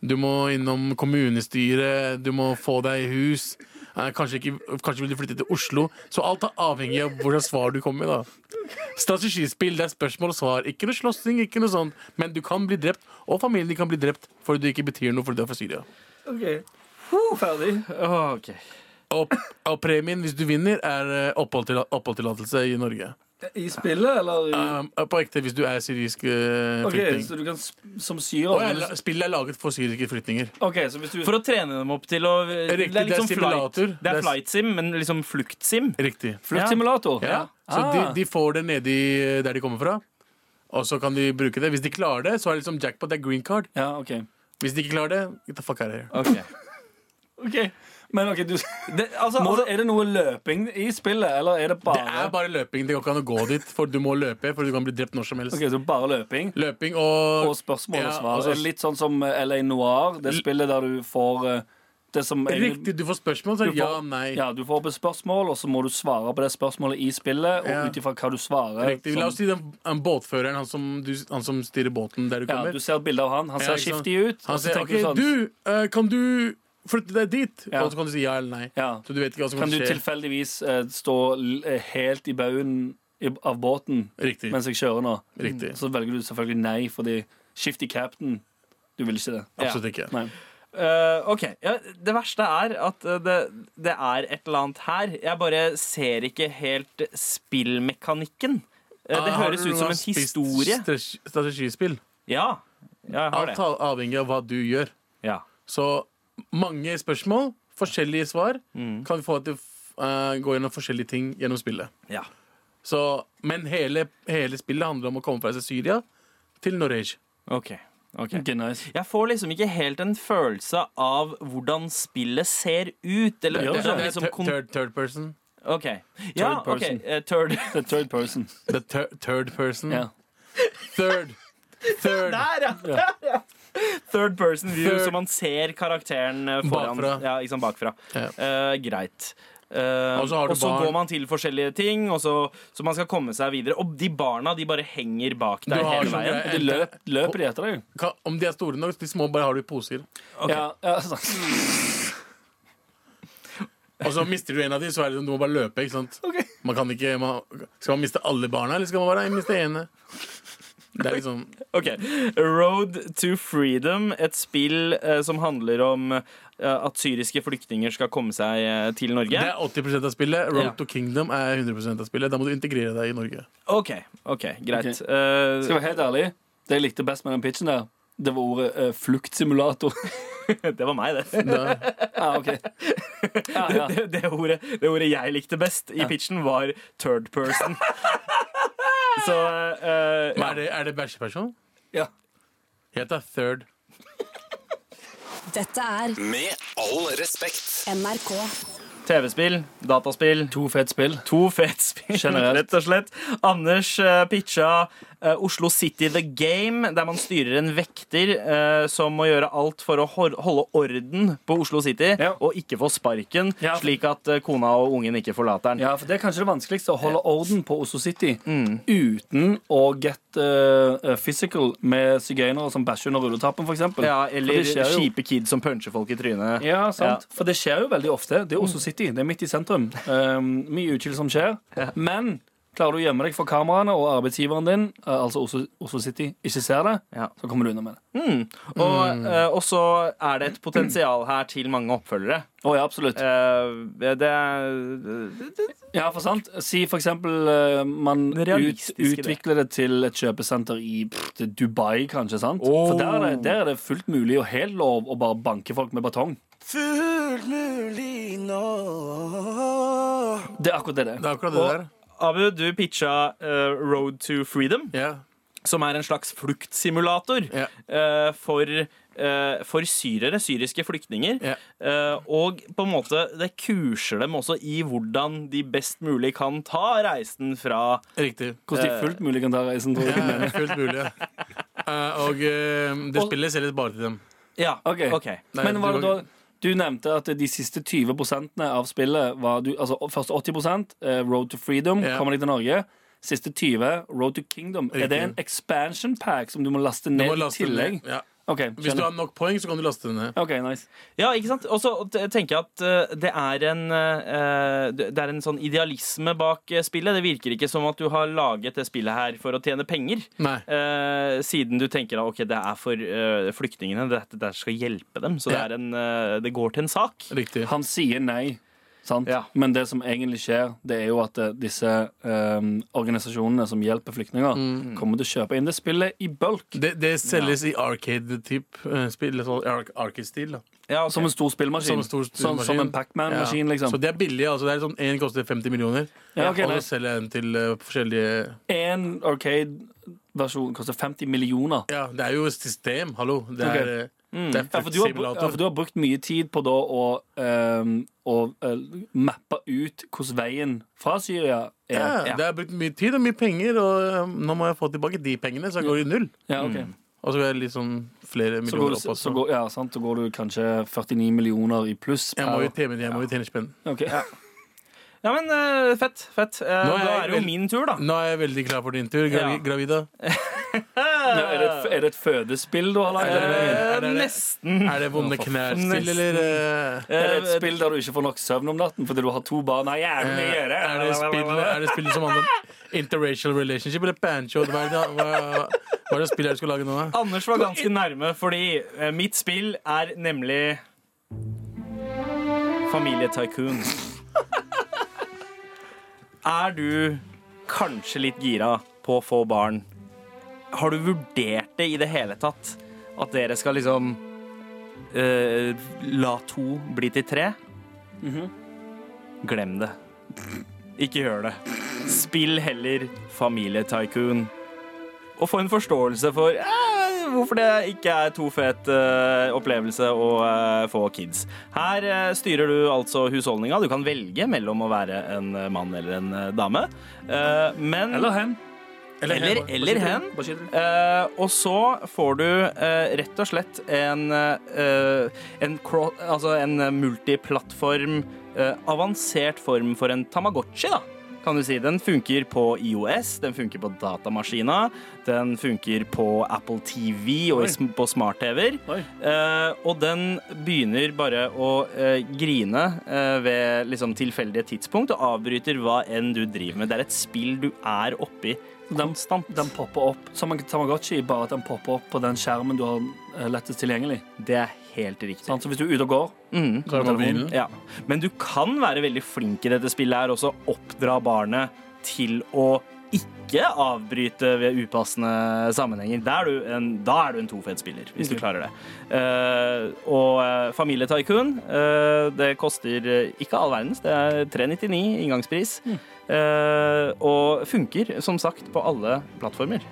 Speaker 5: Du må innom kommunestyret, du må få deg hus. Eh, kanskje, ikke, kanskje vil du flytte til Oslo. Så alt er avhengig av hvordan svar du kommer med. da Strategispill, det er spørsmål og svar. Ikke noe slåssing, ikke noe sånt. Men du kan bli drept, og familien din kan bli drept fordi du ikke betyr noe fordi du er fra Syria.
Speaker 4: OK. Ferdig.
Speaker 3: Åh, ok.
Speaker 5: Og, og premien, hvis du vinner, er eh, opphold til- oppholdstillatelse i Norge.
Speaker 4: I spillet, eller? i-
Speaker 5: Um, på ekte, hvis du er syrisk eh,
Speaker 4: OK,
Speaker 5: flyktning.
Speaker 4: så du kan sp- som
Speaker 5: Og jeg la-
Speaker 4: syrer
Speaker 5: spillet er laget for syriske flyktninger.
Speaker 4: OK, så hvis du
Speaker 3: For å trene dem opp til å
Speaker 5: Riktig,
Speaker 3: Det er
Speaker 5: det er
Speaker 3: liksom flight,
Speaker 5: simulator.
Speaker 3: det
Speaker 5: Det
Speaker 3: er
Speaker 5: er-
Speaker 3: flight sim, men liksom fluktsim.
Speaker 5: Riktig.
Speaker 4: Fluktsimulator?
Speaker 5: Ja. Så
Speaker 4: Ah.
Speaker 5: de, de får det nedi eh, der de kommer fra. Og så kan de bruke det. Hvis de klarer det, så er det liksom jackpot. Det er green card.
Speaker 4: ja OK.
Speaker 5: Hvis de ikke klarer det, get the fuck out of here.
Speaker 3: Ok.
Speaker 4: Ok. Men ok, du
Speaker 3: Det, altså,
Speaker 4: Må,
Speaker 3: altså,
Speaker 4: Er det noe løping i spillet, eller er det bare
Speaker 5: Det er bare løping. Det går ikke an å gå dit, for du må løpe, for du kan bli drept når som helst.
Speaker 4: Ok, så bare løping?
Speaker 5: Løping og,
Speaker 4: Og spørsmål og
Speaker 5: Ja, altså-
Speaker 4: svar.
Speaker 5: og
Speaker 4: Så
Speaker 5: så-
Speaker 4: litt sånn som eh, LA Noir, det spillet der du får eh, det som egentlig-
Speaker 5: Riktig, du får spørsmål, så
Speaker 4: Du får-
Speaker 5: ja, nei.
Speaker 4: Ja, Du får opp et spørsmål, og så må du svare på det spørsmålet i spillet. Og
Speaker 5: Ja.
Speaker 4: ut ifra hva du svarer
Speaker 5: Riktig. La oss
Speaker 4: sånn-
Speaker 5: si den den båtføreren, han som, du, han som styrer båten der du
Speaker 4: ja,
Speaker 5: kommer.
Speaker 4: Du ser et bilde av han. Han ser
Speaker 5: Ja, ikke sant.
Speaker 4: skiftig ut.
Speaker 5: Han
Speaker 4: og så
Speaker 5: sier
Speaker 4: tenker
Speaker 5: OK,
Speaker 4: du sånn
Speaker 5: du, eh, kan du flytte deg dit?
Speaker 4: Ja.
Speaker 5: Og så kan du si ja eller nei.
Speaker 4: Ja.
Speaker 5: Så du vet ikke hva som
Speaker 4: Kan
Speaker 5: kan,
Speaker 4: du
Speaker 5: skje.
Speaker 4: tilfeldigvis eh, stå l- eh, helt i baugen i- av båten
Speaker 5: Riktig.
Speaker 4: mens jeg kjører nå?
Speaker 5: Riktig.
Speaker 4: Så velger du selvfølgelig nei, fordi skiftig captain Du vil ikke det.
Speaker 5: Absolutt ikke.
Speaker 4: Nei.
Speaker 3: eh, ok. Ja, det verste er at eh, det, det er et eller annet her. Jeg bare ser ikke helt spillmekanikken. Eh, Det
Speaker 5: Ah, har
Speaker 3: høres
Speaker 5: du
Speaker 3: ut som
Speaker 5: noen
Speaker 3: en
Speaker 5: spist
Speaker 3: historie.
Speaker 5: strate- Strategispill.
Speaker 3: Ja. ja, jeg har
Speaker 5: Alt
Speaker 3: det.
Speaker 5: er avhengig av hva du gjør.
Speaker 3: Ja.
Speaker 5: Så mange spørsmål, forskjellige svar, kan vi få deg til å f- eh, gå gjennom forskjellige ting gjennom spillet.
Speaker 3: ja.
Speaker 5: Så, men hele, hele spillet handler om å komme fra seg Syria til Norwegia.
Speaker 3: Ok, ok.
Speaker 4: Okay, nice.
Speaker 3: Jeg får liksom ikke helt en følelse av hvordan spillet ser ut. Eller
Speaker 4: Ja,
Speaker 5: Det
Speaker 3: det er
Speaker 5: er
Speaker 3: liksom kon-
Speaker 5: third, third person.
Speaker 3: Ok. Ja,
Speaker 4: Third
Speaker 3: ok.
Speaker 4: person.
Speaker 3: eh, Third.
Speaker 4: The third person.
Speaker 5: The thir third person.
Speaker 4: Ja.
Speaker 5: Third. Third.
Speaker 3: Der, ja! Der, ja. Third person view,
Speaker 5: Third-
Speaker 3: så man ser karakteren eh, foran.
Speaker 5: Bakfra.
Speaker 3: Ja, ikke sant, bakfra.
Speaker 5: Ja.
Speaker 3: Eh, greit. Eh,
Speaker 5: Og så har du
Speaker 3: og så
Speaker 5: barn.
Speaker 3: går man til forskjellige ting, og så, så man skal komme seg videre. Og de barna de bare henger bak
Speaker 5: Du
Speaker 3: deg
Speaker 5: har
Speaker 3: hele
Speaker 5: sånn
Speaker 3: veien.
Speaker 5: greie-
Speaker 4: De løp, løper de etter deg?
Speaker 5: Ka- Om de er store nok, de små bare har du i poser.
Speaker 4: Ja, ja, altså, sant.
Speaker 5: Og så mister du en av de, så er det sånn, du må bare løpe. ikke sant? Man kan ikke, man, Skal man miste alle barna, eller skal man bare miste ene? Det er liksom
Speaker 3: Ok, Road to Freedom, et spill eh, som handler om eh, at syriske flyktninger skal komme seg eh, til Norge.
Speaker 5: Det er 80 av spillet. Road
Speaker 3: Ja.
Speaker 5: to Kingdom er 100 av spillet. Da må du integrere deg i Norge.
Speaker 3: Ok, ok, greit. Eh,
Speaker 4: Ok. Skal jeg være helt ærlig, det jeg likte best med den pitchen der, det var ordet eh, fluktsimulator.
Speaker 3: det var meg, det.
Speaker 5: Da,
Speaker 4: ah, ok. Ja, ja.
Speaker 3: Det, det, ordet, det ordet jeg likte best i pitchen, var third person. Så eh,
Speaker 5: Men er det, er det bæsjeperson?
Speaker 4: ja.
Speaker 5: Jeg tar third.
Speaker 1: Dette er
Speaker 2: Med all respekt.
Speaker 1: NRK.
Speaker 3: TV-spill, dataspill,
Speaker 4: To fete spill.
Speaker 3: to fete spill,
Speaker 4: Generelt.
Speaker 3: rett og slett. Anders eh, pitcha eh, Oslo City The Game, der man styrer en vekter eh, som må gjøre alt for å hor- holde orden på Oslo City
Speaker 4: Ja.
Speaker 3: og ikke få sparken,
Speaker 4: Ja.
Speaker 3: slik at eh, kona og ungen ikke forlater den.
Speaker 4: Ja, for Det er kanskje det vanskeligste, å holde orden på Oslo City uten å get eh, physical med sigøynere som bæsjer under rulletappen, f.eks.
Speaker 3: Ja, eller kjipe kids som puncher folk i trynet.
Speaker 4: Ja, Mm. sant. For det skjer jo veldig ofte. Det er Oslo City. Det er midt i sentrum. Um, mye utkild som skjer. Men klarer du å gjemme deg for kameraene og arbeidsgiveren din, eh, altså Oslo, Oslo City, ikke ser det,
Speaker 3: Ja.
Speaker 4: så kommer du unna med det.
Speaker 3: Og, eh, og så er det et potensial her til mange oppfølgere.
Speaker 4: Å ja, absolutt.
Speaker 3: Eh, det er
Speaker 4: Ja, for sant. Si for eksempel eh, man
Speaker 3: Det
Speaker 4: ut,
Speaker 3: realistiske, det.
Speaker 4: utvikler det til et kjøpesenter i pff, til Dubai, kanskje, sant? For der er, det, der er det fullt mulig og helt lov å bare banke folk med batong.
Speaker 6: Fullt mulig nå.
Speaker 4: Det er akkurat det det
Speaker 5: Det
Speaker 4: er.
Speaker 5: er akkurat det der.
Speaker 3: Abu, du pitcha eh, Road to Freedom.
Speaker 5: Ja.
Speaker 3: som er en slags fluktsimulator
Speaker 5: Ja.
Speaker 3: eh, for, eh, for syrere, syriske flyktninger.
Speaker 5: Ja.
Speaker 3: Eh, og på en måte, det kurser dem også i hvordan de best mulig kan ta reisen fra
Speaker 5: Riktig.
Speaker 4: Hvordan de fullt mulig kan ta reisen, tror jeg.
Speaker 5: Ja, fullt mulig. ja. Eh, og eh, det spillet selges bare til dem.
Speaker 3: Ja,
Speaker 4: Ok.
Speaker 5: Nei,
Speaker 4: Men var
Speaker 5: du
Speaker 4: det
Speaker 5: var-
Speaker 4: da Du nevnte at de siste 20 av spillet var du, altså Først 80 eh, Road to Freedom,
Speaker 5: Ja.
Speaker 4: kommer deg til Norge. Siste 20, Road to Kingdom. Er det en expansion pack som du må laste
Speaker 5: Du
Speaker 4: ned
Speaker 5: må
Speaker 4: i
Speaker 5: laste den
Speaker 4: tillegg?
Speaker 5: ned. Ja.
Speaker 4: Ok,
Speaker 5: Hvis du
Speaker 4: skjønner.
Speaker 5: har nok poeng, så kan du laste den ned.
Speaker 4: Ok, nice.
Speaker 3: Ja, ikke sant? Og så t- tenker jeg at eh, det er, en, eh, det det er en sånn idealisme bak eh, spillet. Det virker ikke som at du har laget det spillet her for å tjene penger.
Speaker 5: Nei.
Speaker 3: Eh, siden du tenker at ok, det er for eh, flyktningene, dette der skal hjelpe dem. Så det,
Speaker 5: Ja.
Speaker 3: er en, eh, det går til en sak.
Speaker 5: Riktig.
Speaker 4: Han sier nei, sant?
Speaker 3: Ja.
Speaker 4: men det som egentlig skjer, det er jo at eh, disse eh, organisasjonene som hjelper flyktninger,
Speaker 5: Mm.
Speaker 4: kommer til å kjøpe inn det spillet i bulk.
Speaker 5: Det, det selges i arcade-type eh, spill. altså arc- Arcade-stil. da.
Speaker 3: Ja, ok.
Speaker 4: Som en stor spillmaskin.
Speaker 5: Som en stor
Speaker 4: Sånn- som
Speaker 5: maskin.
Speaker 4: en Pacman-maskin,
Speaker 5: Ja.
Speaker 4: liksom.
Speaker 5: Så det er billig. altså. Det er sånn, En koster 50 millioner,
Speaker 4: Ja, ok,
Speaker 5: og
Speaker 4: nice.
Speaker 5: så selger jeg den til eh, forskjellige
Speaker 4: En Arcade-versjon koster 50 millioner.
Speaker 5: Ja, det er jo et system, hallo. Det er,
Speaker 4: Ok. Mm.
Speaker 5: okay. er
Speaker 4: Ja, for du har, bru-
Speaker 5: fruktsimulator.
Speaker 4: ja, for du har brukt mye tid på da å, ehm, å eh, mappe ut hvordan veien fra Syria er.
Speaker 5: ja,
Speaker 3: ja.
Speaker 5: Det er brukt mye tid og mye penger, og um, nå må jeg få tilbake de pengene, så jeg går i null.
Speaker 4: Ja, ok.
Speaker 5: Og så vil jeg liksom
Speaker 4: Så går,
Speaker 5: flere millioner
Speaker 4: du,
Speaker 5: opp.
Speaker 4: så,
Speaker 5: Også.
Speaker 4: går, ja, sant, så går du kanskje 49 millioner i pluss.
Speaker 5: Jeg må jo
Speaker 4: per-
Speaker 5: tjene, jeg må jo tjene spenn.
Speaker 4: Ok.
Speaker 3: Ja, men eh, fett. fett. Eh,
Speaker 5: Nå er
Speaker 3: da
Speaker 5: jeg
Speaker 3: er det jo
Speaker 5: vel-
Speaker 3: min tur, da.
Speaker 5: Nå er jeg veldig klar for din tur,
Speaker 3: Ja.
Speaker 5: gravi, gravida.
Speaker 4: Nå, er, det et, f- er det et fødespill du har laget?
Speaker 5: Er det,
Speaker 3: Eh,
Speaker 5: er det, er det,
Speaker 3: Nesten.
Speaker 5: er det vonde knær-spill, eller eh,
Speaker 4: Er det et spill der du ikke får nok søvn om natten fordi du har to barn? Nei, jævlig mye å
Speaker 5: eh, er
Speaker 4: gjøre.
Speaker 5: det spill, er det spill som handler om interracial relationship eller pancho? Hva er det, hva, hva er det spillet du skal lage nå? da?
Speaker 3: Anders var ganske nærme, fordi eh, mitt spill er nemlig Familietycoon. er du kanskje litt gira på å få barn? Har du vurdert det i det hele tatt? At dere skal liksom eh, la to bli til tre? Glem det. ikke gjør det. Spill heller Familietycoon. Og få en forståelse for eh, hvorfor det ikke er to fet eh, opplevelse å eh, få kids. Her eh, styrer du altså husholdninga. Du kan velge mellom å være en eh, mann eller en eh, dame. Eh, men
Speaker 4: Eller hen.
Speaker 3: Eller, eller hen.
Speaker 4: Bare skyt det.
Speaker 3: Eh, og så får du eh, rett og slett en, eh, en, cro- altså en multiplattform eh, Avansert form for en Tamagotchi, da. Kan du si. Den funker på IOS, den funker på datamaskina, den funker på Apple TV og
Speaker 4: Oi.
Speaker 3: i, sm- på smart-TV-er.
Speaker 4: Oi.
Speaker 3: Eh, og den begynner bare å eh, grine eh, ved liksom, tilfeldige tidspunkt og avbryter hva enn du driver med. Det er et spill du er oppi
Speaker 4: Den,
Speaker 3: konstant.
Speaker 4: den popper opp som en Tamagotchi, bare at den popper opp på den skjermen du har eh, lettest tilgjengelig.
Speaker 3: Det er helt riktig.
Speaker 4: Sant? Så hvis du er ute og går
Speaker 3: Mhm.
Speaker 5: Så er det mobilen.
Speaker 3: Ja. Men du kan være veldig flink i dette spillet her også. Oppdra barnet til å ikke avbryte ved upassende sammenhenger. Da er du en, da er du en tofet spiller, hvis du klarer det. Eh, og eh, Familietycoon, eh, det koster eh, ikke all verdens. Det er 399 inngangspris. Eh, og funker, som sagt, på alle plattformer.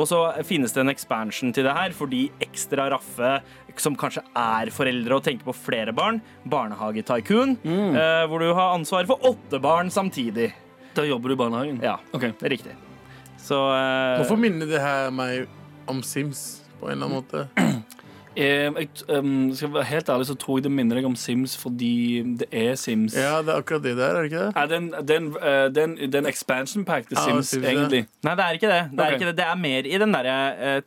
Speaker 3: Og så finnes det en expansion til det her, fordi ekstra raffe, som kanskje er foreldre og tenker på flere barn, barnehage-tycoon,
Speaker 5: Mm.
Speaker 3: eh, hvor du har ansvar for åtte barn samtidig.
Speaker 4: Der jobber du i barnehagen?
Speaker 3: Ja,
Speaker 4: Ok.
Speaker 3: det er riktig. Så eh,
Speaker 5: Hvorfor minner det her meg om Sims på en eller annen måte?
Speaker 4: Eh, Jeg, ehm, skal jeg være helt ærlig så tror jeg det minner deg om Sims fordi det er Sims.
Speaker 5: Ja, det er akkurat det der, er det ikke det?
Speaker 4: Nei, det er en- det er en, eh, det er en- det er en expansion pack til
Speaker 5: Ja,
Speaker 4: Sims,
Speaker 5: Sims, ja.
Speaker 4: egentlig.
Speaker 3: Nei, det er ikke det. Det er,
Speaker 4: Ok.
Speaker 3: ikke det. Det er mer i den derre eh,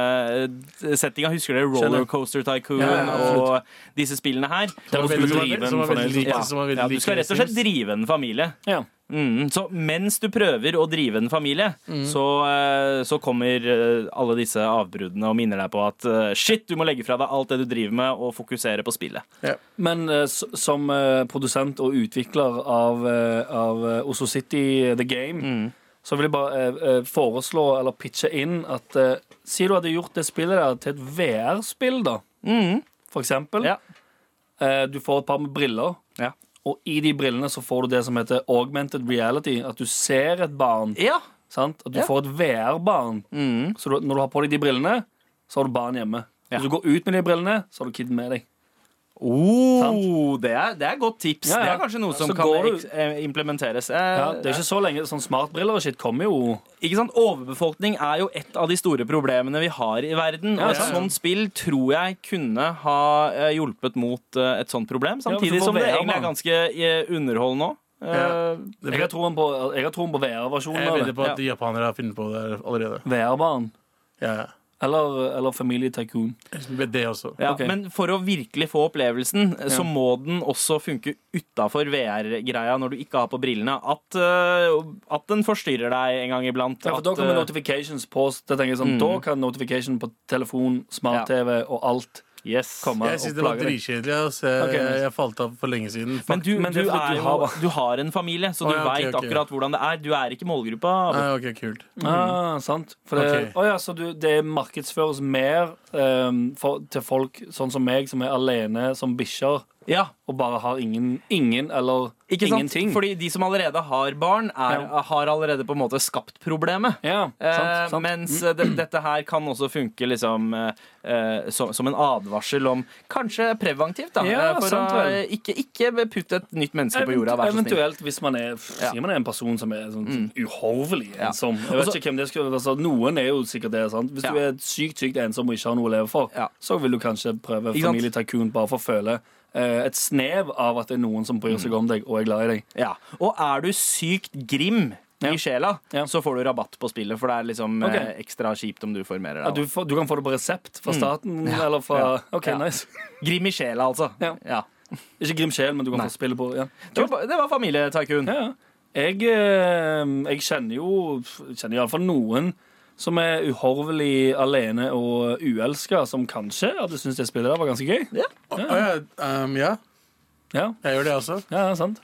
Speaker 3: tycoon-settinga. Husker dere Rollercoaster Tycoon
Speaker 5: Ja, ja, absolutt.
Speaker 3: og disse spillene her?
Speaker 5: Som var
Speaker 4: hvor du
Speaker 5: veldig-
Speaker 4: skulle drive en
Speaker 5: som var veldig
Speaker 4: fornøyelse.
Speaker 5: lik-
Speaker 4: Ja.
Speaker 5: som var veldig
Speaker 3: Ja, du
Speaker 5: lik
Speaker 3: skal rett og slett
Speaker 5: Sims.
Speaker 3: drive en familie.
Speaker 4: Ja.
Speaker 3: Mm, så mens du prøver å drive en familie,
Speaker 4: Mm.
Speaker 3: så, eh, så kommer eh, alle disse avbruddene og minner deg på at eh, shit, du må legge fra deg alt det du driver med, og fokusere på spillet.
Speaker 4: Men eh, s- som eh, produsent og utvikler av, eh, av eh, Oslo City eh, The Game,
Speaker 3: Mm.
Speaker 4: så vil jeg bare eh, eh, foreslå eller pitche inn at eh, Si du hadde gjort det spillet der til et VR-spill, da, for eksempel.
Speaker 3: Mm. Ja.
Speaker 4: Eh, Du får et par med briller.
Speaker 3: Ja.
Speaker 4: Og i de brillene så får du det som heter augmented reality. At du ser et barn.
Speaker 3: Ja,
Speaker 4: Sant? At du
Speaker 3: Ja. Mm.
Speaker 4: får et VR-barn. Så du, når du har på deg de brillene, så har du barn hjemme.
Speaker 3: Ja.
Speaker 4: Hvis du går ut med de brillene, så har du kiden med deg.
Speaker 3: oh, det, er, det er godt tips.
Speaker 4: Ja, ja.
Speaker 3: Det er kanskje noe
Speaker 4: Så
Speaker 3: som
Speaker 4: går
Speaker 3: kan
Speaker 4: du-
Speaker 3: eks- eh, implementeres. Eh,
Speaker 4: Ja, det er ikke så lenge sånn smartbriller og shit kommer jo.
Speaker 3: ikke sant? Overbefolkning er jo et av de store problemene vi har i verden.
Speaker 4: Ja,
Speaker 3: og et
Speaker 4: sant.
Speaker 3: sånt spill tror jeg kunne ha eh, hjulpet mot eh, et sånt problem.
Speaker 4: Ja,
Speaker 3: Samtidig
Speaker 4: for
Speaker 3: som det
Speaker 4: VR,
Speaker 3: egentlig er
Speaker 4: man.
Speaker 3: ganske eh, underholdende òg.
Speaker 5: Ja. Det
Speaker 4: eh, Jeg har
Speaker 5: ble-
Speaker 4: troen på, jeg har troen på
Speaker 5: Jeg er
Speaker 4: VR-versjonen
Speaker 5: vedder
Speaker 4: av det.
Speaker 5: på at de japanere har funnet på det her allerede.
Speaker 4: VR-barn.
Speaker 5: Ja, ja.
Speaker 4: Eller, eller familietycoon.
Speaker 5: Jeg vet Det også.
Speaker 3: Ja,
Speaker 4: Ok.
Speaker 3: Men for å virkelig få opplevelsen, eh, så
Speaker 4: Ja.
Speaker 3: må den også funke utafor VR-greia når du ikke har på brillene. At, eh, at den forstyrrer deg en gang iblant.
Speaker 4: Ja, for
Speaker 3: at,
Speaker 4: da kommer
Speaker 3: eh,
Speaker 4: notifications på oss. Da tenker jeg
Speaker 3: Mm.
Speaker 4: sånn, da kan notification på telefon, smart-TV og alt
Speaker 3: yes.
Speaker 4: komme
Speaker 5: Jeg synes det var
Speaker 4: plage deg.
Speaker 5: dritkjedelig. ass.
Speaker 4: Ok,
Speaker 5: Jeg,
Speaker 4: nice.
Speaker 5: jeg falt av for lenge siden.
Speaker 3: Men, du,
Speaker 4: men
Speaker 3: du,
Speaker 4: det er fordi
Speaker 3: er
Speaker 4: du
Speaker 3: jo,
Speaker 4: har-
Speaker 3: du har en familie, så
Speaker 5: Å,
Speaker 3: du
Speaker 5: ja, ok,
Speaker 3: vet
Speaker 5: ok.
Speaker 3: akkurat hvordan det er. Du er ikke målgruppa.
Speaker 5: Nei, ok, kult.
Speaker 3: Mm.
Speaker 4: Ah, sant. For det,
Speaker 5: Ok.
Speaker 4: Å ja, så du, det markedsføres mer ehm, for, til folk sånn som meg, som er alene som bikkjer
Speaker 3: Ja,
Speaker 4: og bare har ingen, ingen eller
Speaker 3: ikke sant?
Speaker 4: ingenting.
Speaker 3: Fordi de som allerede har barn, er,
Speaker 4: Ja.
Speaker 3: har allerede på en måte skapt problemet.
Speaker 4: ja,
Speaker 3: Eh,
Speaker 4: sant, Mm. sant.
Speaker 3: Mens eh, det, dette her kan også funke liksom, eh, eh, som, som en advarsel om Kanskje preventivt, da.
Speaker 4: Ja,
Speaker 3: eh, for
Speaker 4: sant
Speaker 3: å
Speaker 4: vel.
Speaker 3: eh, ikke, ikke putt et nytt menneske på jorda, vær så snill.
Speaker 4: Eventuelt hvis man er, pff,
Speaker 3: Ja. Mm.
Speaker 4: sier man er en person som er sånn uhorvelig ensom. Jeg vet
Speaker 3: Også-
Speaker 4: ikke hvem det skulle altså, Noen er jo sikkert det. sant? Hvis
Speaker 3: Ja.
Speaker 4: du er sykt sykt ensom og ikke har noe å leve for,
Speaker 3: Ja.
Speaker 4: så vil du kanskje prøve
Speaker 3: Ikke sant?
Speaker 4: familietycoon bare for å føle eh, et snev av at det er noen som bryr
Speaker 3: Mm.
Speaker 4: seg om deg og er glad i deg.
Speaker 3: Ja. Og er du sykt grim
Speaker 4: Ja.
Speaker 3: i sjela,
Speaker 4: Ja.
Speaker 3: så får du rabatt på spillet, for det er liksom
Speaker 4: Ok.
Speaker 3: eh, ekstra kjipt om du formerer
Speaker 4: Ja,
Speaker 3: deg.
Speaker 4: du, får, du kan få det på resept fra staten eller fra
Speaker 3: Mm. Ja.
Speaker 4: OK,
Speaker 3: Ja.
Speaker 4: nice.
Speaker 3: Grim i sjela, altså.
Speaker 4: Ja.
Speaker 3: Ja.
Speaker 4: Ikke Grim Sjel, men du kan få spille på. Ja.
Speaker 3: Det var, det var familietycoon.
Speaker 4: Ja, ja. Jeg, eh, jeg kjenner jo kjenner iallfall noen som er uhorvelig alene og uelska, som kanskje hadde syntes det spillet der var ganske gøy.
Speaker 5: Å, å ja, um, ja,
Speaker 4: Ja,
Speaker 5: jeg gjør det altså. også.
Speaker 4: ja sant.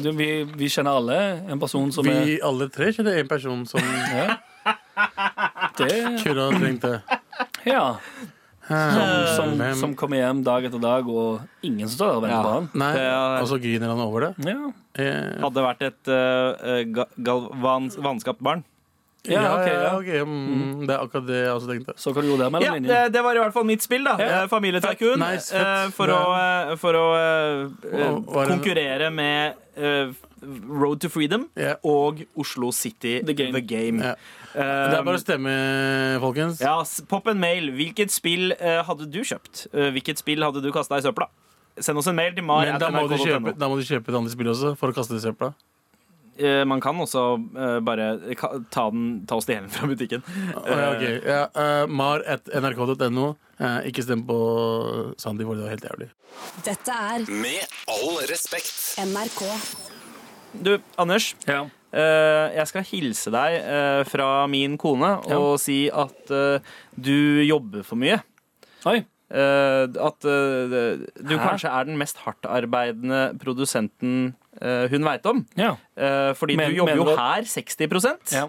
Speaker 4: Du, vi, vi kjenner alle en person som
Speaker 5: Vi alle tre kjenner en person som
Speaker 4: er ja, det,
Speaker 5: kunne ha trengt det.
Speaker 4: ja. Som,
Speaker 5: Hvem-
Speaker 4: som kommer hjem dag etter dag, og ingen som står der og venter
Speaker 3: Ja.
Speaker 4: på han.
Speaker 5: Nei,
Speaker 3: Det er-
Speaker 5: og så griner han over det.
Speaker 4: Ja,
Speaker 5: Eh,
Speaker 3: Hadde vært et eh, ga- galvans, vanskapt barn.
Speaker 4: ja, ok, ja.
Speaker 5: ok, mm, Det er akkurat det jeg også tenkte.
Speaker 4: Så hva du gjorde der mellom
Speaker 3: Ja, det,
Speaker 4: linjene?
Speaker 3: det var i hvert fall mitt spill, da.
Speaker 4: Ja.
Speaker 3: Eh, Familietycoon.
Speaker 5: Fett. Nice, fett.
Speaker 3: eh, For,
Speaker 5: Det-
Speaker 3: å, eh, for å eh, eh,
Speaker 5: Hva- hva er det-
Speaker 3: konkurrere med eh, Road to Freedom
Speaker 5: Ja.
Speaker 3: og Oslo City
Speaker 4: The Game.
Speaker 5: Ja.
Speaker 3: Eh,
Speaker 5: Det er bare å stemme, folkens.
Speaker 3: ja, s- Popp en mail. Hvilket spill eh, hadde du kjøpt? Eh, hvilket spill hadde du kasta i søpla? Send oss en mail til mar.
Speaker 5: Men da må, du kjøpe, da må du kjøpe et annet spill også for å kaste det i søpla.
Speaker 3: Man kan også eh, bare ka ta, den, ta oss til hjelp fra butikken.
Speaker 5: Ja, ok. ja, eh, Mar at nrk.no. Eh, ikke stem på Sandeep, for det var helt jævlig.
Speaker 1: Dette er
Speaker 2: Med all respekt.
Speaker 1: NRK.
Speaker 3: Du, Anders.
Speaker 4: Ja.
Speaker 3: Eh, jeg skal hilse deg eh, fra min kone og si at eh, du jobber for mye.
Speaker 4: Oi.
Speaker 3: Eh, at eh, du
Speaker 4: Hæ?
Speaker 3: kanskje er den mest hardtarbeidende produsenten eh, hun veit om.
Speaker 4: Ja.
Speaker 3: Eh, fordi
Speaker 4: Men-
Speaker 3: du jobber jo
Speaker 4: mener du-
Speaker 3: her 60
Speaker 4: ja.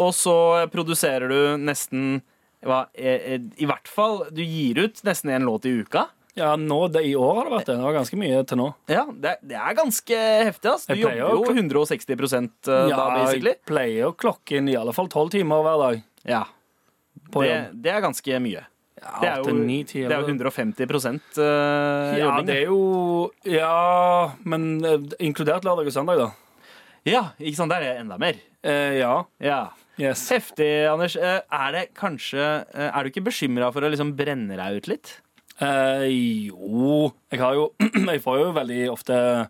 Speaker 3: og så produserer du nesten hva, eh, eh, I hvert fall Du gir ut nesten én låt i uka.
Speaker 4: ja nå, det, I år har det vært det. Det var ganske mye til nå.
Speaker 3: Ja, Det, det er ganske heftig. ass. Du
Speaker 4: Jeg pleier
Speaker 3: jobber
Speaker 4: å-
Speaker 3: jo 160 eh, da, basically.
Speaker 4: jeg pleier å klokke inn i alle fall tolv timer hver dag.
Speaker 3: Ja,
Speaker 4: På
Speaker 3: det,
Speaker 4: jobb.
Speaker 3: det er ganske mye. Det er
Speaker 4: Åtte,
Speaker 3: jo,
Speaker 4: ni, ti,
Speaker 3: det er jo
Speaker 4: eller-
Speaker 3: 150 eh,
Speaker 4: Ja,
Speaker 3: jobbing.
Speaker 4: det er jo Ja, men eh, inkludert lørdag og søndag, da.
Speaker 3: Ja, ikke sant? Der er det enda mer.
Speaker 4: Eh, ja.
Speaker 3: Ja.
Speaker 4: Yes.
Speaker 3: Heftig, Anders. Eh, Er det kanskje eh, Er du ikke bekymra for å liksom brenne deg ut litt?
Speaker 4: Eh, jo Jeg har jo Jeg får jo veldig ofte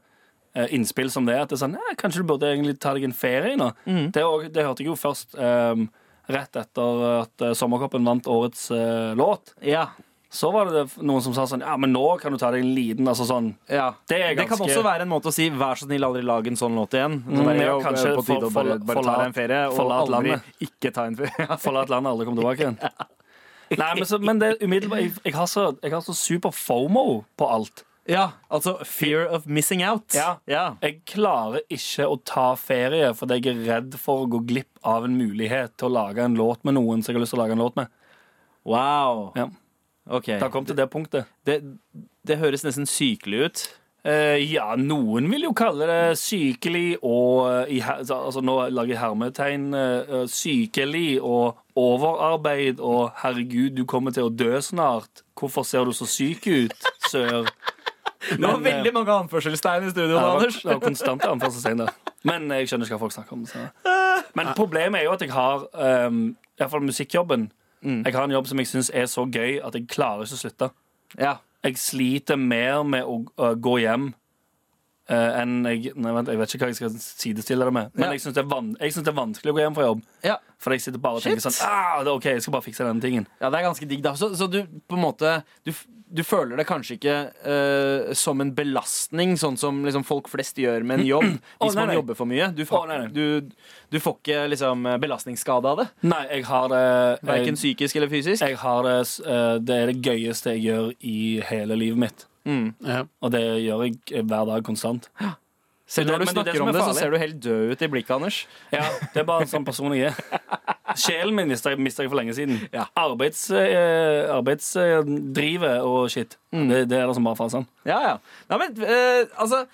Speaker 4: eh, innspill som det. At det er sånn, eh, Kanskje du burde egentlig ta deg en ferie nå?
Speaker 3: Mm.
Speaker 4: Det, er også- det hørte jeg jo først eh, rett etter at eh, Sommerkoppen vant årets eh, låt.
Speaker 3: Ja.
Speaker 4: Så var det det noen som sa sånn Ja, men nå kan du ta deg en liten altså sånn
Speaker 3: ja.
Speaker 4: Det er
Speaker 3: kan
Speaker 4: ganske-
Speaker 3: også være en måte å si 'vær så snill, aldri lag en sånn låt igjen'. Så
Speaker 4: Mm,
Speaker 3: bare,
Speaker 4: ja,
Speaker 3: jo,
Speaker 4: kanskje
Speaker 3: på tide å
Speaker 4: for-
Speaker 3: bare,
Speaker 4: for-
Speaker 3: bare ta
Speaker 4: forlat-
Speaker 3: deg en ferie, og
Speaker 4: forlat
Speaker 3: aldri
Speaker 4: landet.
Speaker 3: ikke ta en ferie. Ja.
Speaker 4: Forlate landet, alle kom tilbake igjen. Nei, men, så, men det er umiddelbart jeg, jeg, har så, jeg har så super fomo på alt.
Speaker 3: ja, altså fear of missing out.
Speaker 4: Ja.
Speaker 3: ja.
Speaker 4: Jeg klarer ikke å ta ferie fordi jeg er redd for å gå glipp av en mulighet til å lage en låt med noen som jeg har lyst til å lage en låt med.
Speaker 3: Wow.
Speaker 4: Ja.
Speaker 3: OK.
Speaker 4: Det har kommet til det punktet.
Speaker 3: Det, det høres nesten sykelig ut.
Speaker 4: Eh, ja, noen vil jo kalle det sykelig og i, her- altså, Nå lager jeg hermetegn. eh, sykelig og overarbeid og 'herregud, du kommer til å dø snart'. Hvorfor ser du så syk ut, sør?
Speaker 3: Det var
Speaker 4: Men, eh,
Speaker 3: veldig mange anførselstegn i studio,
Speaker 4: Ja, det var-
Speaker 3: Anders.
Speaker 4: Det var konstante anførselstegn der. Men jeg skjønner ikke hva folk snakker om. Så. Men problemet er jo at jeg har um, i hvert fall musikkjobben. Jeg har en jobb som jeg syns er så gøy at jeg klarer ikke å slutte.
Speaker 3: Ja.
Speaker 4: Jeg sliter mer med å øh, gå hjem eh, enn jeg Nei, vent, jeg vet ikke hva jeg skal sidestille det med. Men
Speaker 3: Ja.
Speaker 4: jeg syns det, er van- jeg synes det er vanskelig å gå hjem fra jobb.
Speaker 3: Ja.
Speaker 4: For jeg sitter bare og tenker
Speaker 3: Shit.
Speaker 4: sånn ah, det er OK, jeg skal bare fikse denne tingen.
Speaker 3: Ja, det er ganske digg, da. Så, så du på en måte Du, f- du føler det kanskje ikke eh, som en belastning, sånn som liksom, folk flest gjør med en jobb,
Speaker 4: Å,
Speaker 3: hvis
Speaker 4: nei,
Speaker 3: man
Speaker 4: nei.
Speaker 3: jobber for mye. Du, får-
Speaker 4: Å, nei, nei.
Speaker 3: du, du får ikke liksom, belastningsskade av det.
Speaker 4: Nei, jeg har det jeg-
Speaker 3: Verken psykisk eller fysisk.
Speaker 4: Jeg har det, s- eh, det er det gøyeste jeg gjør i hele livet mitt.
Speaker 5: Ja.
Speaker 4: Og det gjør jeg eh, hver dag konstant.
Speaker 3: Selv
Speaker 4: det-
Speaker 3: når du
Speaker 4: men det er det
Speaker 3: snakker
Speaker 4: som
Speaker 3: om
Speaker 4: er
Speaker 3: det, så
Speaker 4: farlig.
Speaker 3: ser du helt død ut i blikket, Anders.
Speaker 4: Ja, Det er bare en sånn person jeg er. Sjelen min mista jeg, mistet jeg for lenge siden.
Speaker 3: Ja.
Speaker 4: Arbeidsdrivet arbeids, eh, drivet og shit.
Speaker 3: Mm.
Speaker 4: Det, det er det som bare sånn. faser.
Speaker 3: Ja, ja. Nei, men eh, altså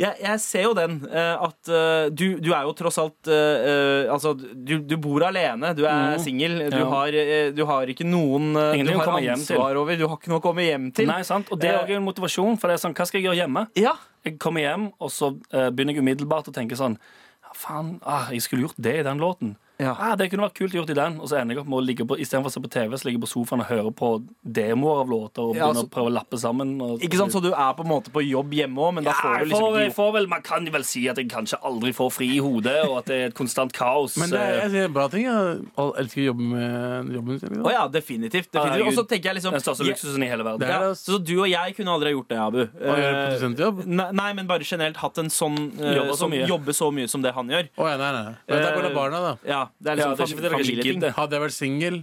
Speaker 3: jeg, jeg ser jo den eh, at eh, du, du er jo tross alt eh, eh, Altså, du, du bor alene, du er singel, du,
Speaker 4: Mm. Ja.
Speaker 3: har, eh, du har ikke noen eh,
Speaker 4: Ingenting
Speaker 3: du
Speaker 4: å
Speaker 3: har
Speaker 4: komme hjem til.
Speaker 3: ansvar over, du har ikke noe å komme hjem til. Eh,
Speaker 4: Nei, sant? Og det er også en motivasjon, for det er sånn, hva skal jeg gjøre hjemme?
Speaker 3: Ja,
Speaker 4: Jeg kommer hjem, og så eh, begynner jeg umiddelbart å tenke sånn ja, Faen, ah, jeg skulle gjort det i den låten.
Speaker 3: Ja.
Speaker 4: Ah, det kunne vært kult gjort i den. Og så ender jeg opp med å ligge på istedenfor å se på TV, så ligger jeg på sofaen og hører på demoer av låter og
Speaker 3: Ja,
Speaker 4: begynner
Speaker 3: så-
Speaker 4: å prøve å lappe sammen. Og,
Speaker 3: ikke sant, Så du er på en måte på jobb hjemme òg, men da
Speaker 4: ja,
Speaker 3: får
Speaker 4: jeg
Speaker 3: du
Speaker 4: får,
Speaker 3: liksom
Speaker 4: jeg
Speaker 3: ikke
Speaker 4: får vel, Man kan vel si at jeg kanskje aldri får fri i hodet, og at det er et konstant kaos.
Speaker 5: Men det er,
Speaker 4: eh,
Speaker 5: jeg sier bra ting. Jeg Alle elsker å jobbe med jobben sin.
Speaker 3: Å ja, definitivt. definitivt. Og så tenker jeg liksom
Speaker 4: den største
Speaker 3: jeg-
Speaker 4: luksusen i hele verden.
Speaker 5: Det er
Speaker 3: ja,
Speaker 5: det, ass.
Speaker 3: Så du og jeg kunne aldri ha gjort det, Abu.
Speaker 5: Og gjøre
Speaker 3: Eh,
Speaker 5: produsentjobb.
Speaker 3: nei, nei, men bare generelt hatt en sånn eh,
Speaker 4: Jobbe så
Speaker 3: som
Speaker 4: mye.
Speaker 3: jobber så mye som det han gjør.
Speaker 5: Å ja, nei, nei. Men der går det barna, da.
Speaker 3: Ja, det er
Speaker 4: Ja,
Speaker 3: liksom
Speaker 4: det er ikke fordi dere ikke
Speaker 3: familieting.
Speaker 4: gidder.
Speaker 5: Hadde jeg vært singel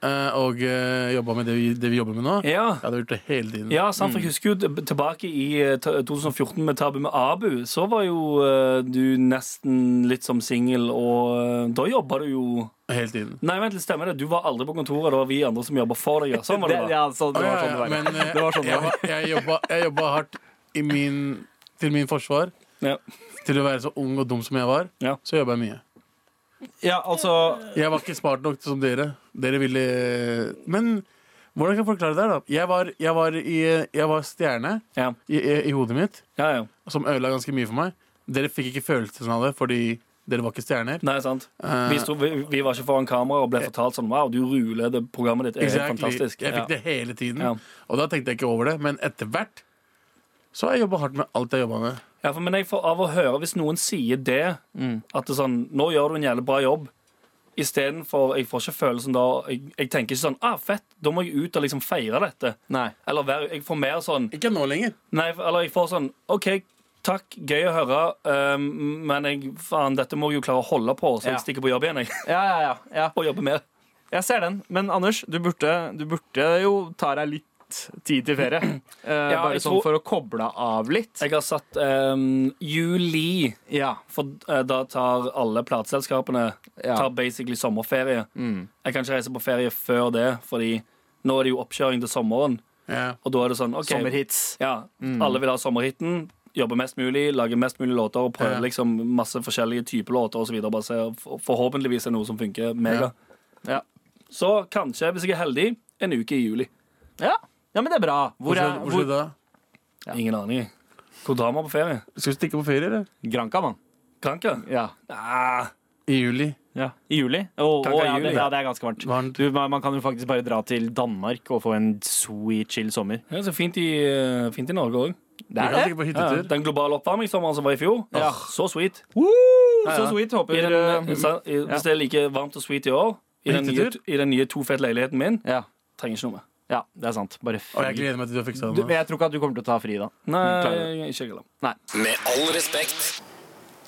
Speaker 5: eh, og uh, jobba med det vi, det vi jobber med nå,
Speaker 4: Ja.
Speaker 5: jeg hadde gjort det hele tiden.
Speaker 4: Ja, sant, for jeg husker jo t- tilbake i eh, t- 2014 med Tabu med Abu, så var jo eh, du nesten litt som singel, og eh, da jobba du jo
Speaker 5: Hele tiden.
Speaker 4: Nei, vent litt, stemmer det. Du var aldri på kontoret. Det var vi andre som jobba for deg. Ja, sånn var det,
Speaker 3: Det-
Speaker 4: da.
Speaker 3: ja, sånn, det
Speaker 5: Ja,
Speaker 3: var
Speaker 5: ja,
Speaker 3: sånn det var.
Speaker 5: Men eh,
Speaker 3: det var sånn det
Speaker 5: jeg,
Speaker 3: var.
Speaker 5: var- jeg, jobba, jeg jobba hardt i min, til min forsvar.
Speaker 4: Ja.
Speaker 5: Til å være så ung og dum som jeg var,
Speaker 4: Ja.
Speaker 5: så jobba jeg mye.
Speaker 3: Ja, altså
Speaker 5: Jeg var ikke smart nok som dere. Dere ville Men hvordan kan jeg forklare det her, da? Jeg var, jeg var, i, jeg var stjerne
Speaker 4: Ja.
Speaker 5: i, i, i hodet mitt,
Speaker 4: ja, ja.
Speaker 5: som ødela ganske mye for meg. Dere fikk ikke følelsen av det fordi dere var ikke stjerner.
Speaker 4: Nei, sant.
Speaker 5: Eh,
Speaker 4: Vi, sto, vi, vi var ikke foran kamera og ble fortalt sånn Wow, du ruler det programmet ditt. er helt
Speaker 5: exactly.
Speaker 4: fantastisk.
Speaker 5: Jeg
Speaker 4: Ja.
Speaker 5: fikk det hele tiden.
Speaker 4: Ja.
Speaker 5: Og da tenkte jeg ikke over det. Men etter hvert så har jeg jobba hardt med alt jeg jobba med.
Speaker 4: Ja, for, men jeg får av å høre, hvis noen sier det,
Speaker 3: Mm.
Speaker 4: at det er sånn Nå gjør du en jævlig bra jobb. Istedenfor Jeg får ikke følelsen da Jeg, jeg tenker ikke sånn Ah, fett, da må jeg ut og liksom feire dette.
Speaker 3: Nei.
Speaker 4: Eller være, jeg får mer sånn
Speaker 5: Ikke nå lenger.
Speaker 4: Nei, eller jeg får sånn OK, takk, gøy å høre, ehm, men jeg, faen, dette må jeg jo klare å holde på, så
Speaker 3: Ja.
Speaker 4: jeg stikker på jobb igjen, jeg.
Speaker 3: Ja, ja, ja. ja.
Speaker 4: Og jobber mer.
Speaker 3: Jeg ser den. Men Anders, du burde, du burde jo ta deg litt tid til ferie. Eh,
Speaker 4: Ja,
Speaker 3: bare
Speaker 4: jeg
Speaker 3: sånn
Speaker 4: tror-
Speaker 3: for å koble av litt.
Speaker 4: Jeg har satt ehm, juli,
Speaker 3: Ja.
Speaker 4: for eh, da tar alle plateselskapene
Speaker 3: Ja. Mm.
Speaker 4: Tar basically sommerferie. Jeg kan ikke reise på ferie før det, fordi nå er det jo oppkjøring til sommeren.
Speaker 5: Ja.
Speaker 4: Og da er det sånn OK,
Speaker 3: Sommerhits.
Speaker 4: ja,
Speaker 3: Mm.
Speaker 4: alle vil ha sommerhiten. Jobbe mest mulig, lage mest mulig låter og prøve
Speaker 5: Ja.
Speaker 4: liksom masse forskjellige typer låter osv. Bare se, for- forhåpentligvis er det noe som funker mega.
Speaker 3: Ja.
Speaker 4: Så kanskje, hvis jeg er heldig, en uke i juli.
Speaker 3: Ja. ja, men det er bra. Hvor er
Speaker 5: Hvor, skal- hvor
Speaker 3: hvor,
Speaker 5: skal du da?
Speaker 4: Ingen aning. jeg. Hvor drar man på ferie?
Speaker 5: Skal du stikke på ferie, eller?
Speaker 3: Granca, mann.
Speaker 4: Granca?
Speaker 3: Ja.
Speaker 4: Ah,
Speaker 5: I juli.
Speaker 3: ja. I juli. Og,
Speaker 4: Granca
Speaker 3: og
Speaker 4: i
Speaker 3: ja,
Speaker 4: juli.
Speaker 3: det, ja, det er ganske varmt.
Speaker 5: Varmt.
Speaker 3: Du, man man kan jo faktisk bare dra til Danmark og få en sweet, chill sommer.
Speaker 4: det er så fint i, eh, fint i Norge òg.
Speaker 3: Det
Speaker 5: Vi kan stikke på
Speaker 4: Ja,
Speaker 5: hyttetur.
Speaker 4: den globale oppvarmingssommeren som altså var i fjor,
Speaker 3: Ja.
Speaker 4: Åh, så sweet.
Speaker 3: Woo!
Speaker 4: Ja,
Speaker 3: Så
Speaker 4: ja.
Speaker 3: sweet.
Speaker 4: I
Speaker 3: Håper
Speaker 4: den,
Speaker 3: eh,
Speaker 4: sa- i, hvis det er like varmt og sweet i år, i den, nye,
Speaker 5: Hyttetur?
Speaker 4: i den nye tofet-leiligheten min,
Speaker 3: ja.
Speaker 4: trenger ikke noe mer.
Speaker 3: ja, det er sant. Bare
Speaker 5: Og jeg
Speaker 3: fri.
Speaker 5: gleder meg til du har
Speaker 3: Du,
Speaker 5: fiksa det.
Speaker 3: men jeg tror ikke at du kommer til å ta fri da. Klarer
Speaker 4: Nei, ikke glem.
Speaker 2: Med all respekt.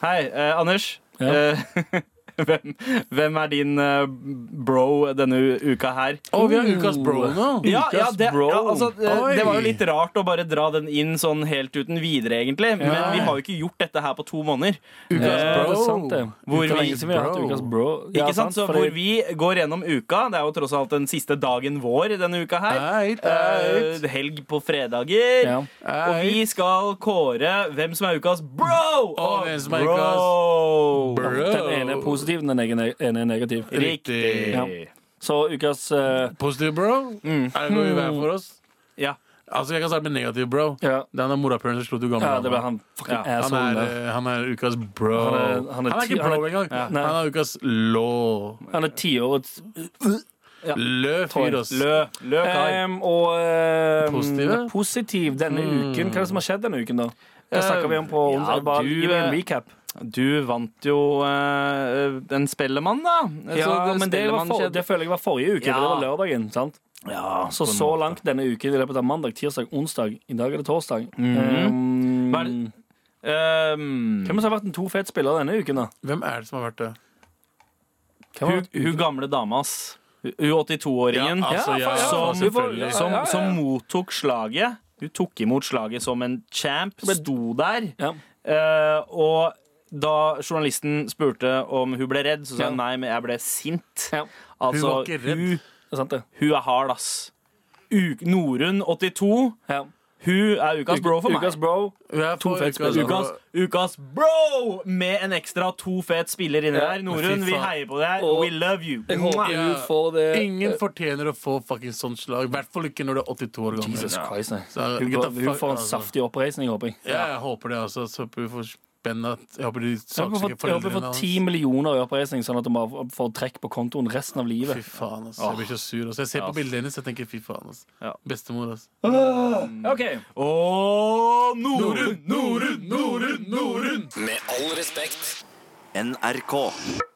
Speaker 3: Hei, eh, Anders.
Speaker 4: Ja.
Speaker 3: Eh, hvem, hvem er din eh, bro denne u- uka her?
Speaker 5: Å, vi har ukas bro nå!
Speaker 3: Ja, ja,
Speaker 5: Ukas
Speaker 3: det,
Speaker 5: bro.
Speaker 3: ja, altså, eh,
Speaker 5: Oi.
Speaker 3: det var jo litt rart å bare dra den inn sånn helt uten videre, egentlig. Men
Speaker 5: Ja.
Speaker 3: vi har jo ikke gjort dette her på to måneder.
Speaker 5: Ukas
Speaker 3: Eh,
Speaker 5: bro.
Speaker 4: Det er sant, det.
Speaker 3: Hvor
Speaker 4: Hvor
Speaker 3: vi-
Speaker 4: lenge siden vi har hatt
Speaker 5: bro.
Speaker 4: ukas bro. Ja,
Speaker 3: ikke sant? Så
Speaker 4: fordi-
Speaker 3: Hvor vi går gjennom uka. Det er jo tross alt den siste dagen vår denne uka her.
Speaker 5: Eit,
Speaker 3: Eh,
Speaker 5: eit,
Speaker 3: helg på fredager.
Speaker 4: Ja.
Speaker 3: Og vi skal kåre hvem som er ukas bro!
Speaker 5: Og hvem som er
Speaker 3: bro.
Speaker 4: Den ene er positiv, den ene ene er negativ.
Speaker 3: Riktig.
Speaker 4: Ja. Så ukas eh,
Speaker 5: Positiv bro. Er det noe i veien for oss?
Speaker 3: Ja.
Speaker 5: Altså, Jeg kan starte med negativ bro.
Speaker 4: Ja.
Speaker 5: Det er han der morapuleren som slo til gamle
Speaker 4: Ja, det ble
Speaker 5: dama.
Speaker 4: han fucking
Speaker 3: Ja,
Speaker 5: Han
Speaker 4: asshole
Speaker 5: er,
Speaker 4: der.
Speaker 5: eh, han er ukas bro.
Speaker 4: Han er- han er ti-
Speaker 5: ikke
Speaker 4: han er-
Speaker 5: bro engang.
Speaker 4: Nei.
Speaker 5: Han er ukas lå.
Speaker 4: Han er tiårets
Speaker 5: Lø fyr, ass.
Speaker 3: Lø. Lø kar.
Speaker 4: Ehm, Og ehm,
Speaker 5: Positive?
Speaker 4: positiv denne uken. Hva er det som har skjedd denne uken, da? Hva snakker vi om på
Speaker 3: Hmm. Eh, ja,
Speaker 4: onsdag? Bare
Speaker 3: du,
Speaker 4: gi meg en
Speaker 3: eh,
Speaker 4: recap.
Speaker 3: Du vant jo eh, en Spellemann, da.
Speaker 4: Ja,
Speaker 3: Så
Speaker 4: men det, var
Speaker 3: Spellemann
Speaker 4: for,
Speaker 3: skjedde-
Speaker 4: det føler jeg var forrige uke.
Speaker 3: Ja.
Speaker 4: for Det var lørdagen. sant? så så langt denne uken i løpet av mandag, tirsdag, onsdag. I dag er det torsdag. Ehm,
Speaker 3: Mhm. Hva er det- Ehm,
Speaker 4: hvem er det som har vært en to fet spiller denne uken, da?
Speaker 5: Hvem er det som har vært det?
Speaker 4: Hvem har
Speaker 3: hun,
Speaker 4: vært-
Speaker 3: hun gamle dama, ass. Hun 82-åringen
Speaker 5: altså, ja,
Speaker 3: som-
Speaker 5: selvfølgelig.
Speaker 3: som,
Speaker 4: ja, ja, ja.
Speaker 3: som mottok slaget. Hun tok imot slaget som en champ, sto der.
Speaker 4: Ja.
Speaker 3: eh, og da journalisten spurte om hun ble redd, så sa hun
Speaker 4: Ja.
Speaker 3: nei, men jeg ble sint.
Speaker 4: Ja.
Speaker 3: Altså,
Speaker 5: Hun var ikke redd.
Speaker 3: Hun,
Speaker 4: Det er sant, det.
Speaker 3: hun er hard, ass. U- Norun, 82.
Speaker 4: Ja.
Speaker 3: Hun er ukas bro for meg.
Speaker 4: Ukas bro.
Speaker 5: Vi er
Speaker 4: To
Speaker 5: for
Speaker 4: fett
Speaker 5: ukas
Speaker 4: spillere.
Speaker 5: bro.
Speaker 3: Ukas,
Speaker 4: Altså-
Speaker 3: ukas bro med en ekstra to fet spiller inni
Speaker 4: Ja.
Speaker 3: der. Norun, vi
Speaker 5: Fy faen.
Speaker 3: heier på deg.
Speaker 4: Og-
Speaker 3: We love you.
Speaker 4: Jeg håper
Speaker 5: Ja.
Speaker 4: du får det
Speaker 5: Ingen fortjener å få fucking sånt slag. I hvert fall ikke når du er 82 år gammel.
Speaker 4: Jesus Christ, nei.
Speaker 5: Så,
Speaker 4: Hun,
Speaker 5: get the
Speaker 4: går, hun
Speaker 5: fuck-
Speaker 4: får en
Speaker 5: altså.
Speaker 4: saftig oppreisning, håper jeg.
Speaker 5: Ja, jeg håper det, altså. Så håper vi får spennende Jeg håper de
Speaker 4: Jeg håper hun får-
Speaker 5: saksøker
Speaker 4: jeg håper hun
Speaker 5: foreldrene
Speaker 4: får
Speaker 5: hans.
Speaker 4: ti millioner i oppreisning, sånn at hun bare får trekk på kontoen resten av
Speaker 5: Fy
Speaker 4: livet.
Speaker 5: faen, altså. Jeg blir så sur. Altså. Jeg ser på bildet hennes og tenker fy faen. Altså.
Speaker 3: Ja.
Speaker 5: Bestemor, altså.
Speaker 4: Ok,
Speaker 3: Og Norun!
Speaker 5: Norun, Norun, Norun, Norun!
Speaker 2: Med all respekt.
Speaker 1: NRK.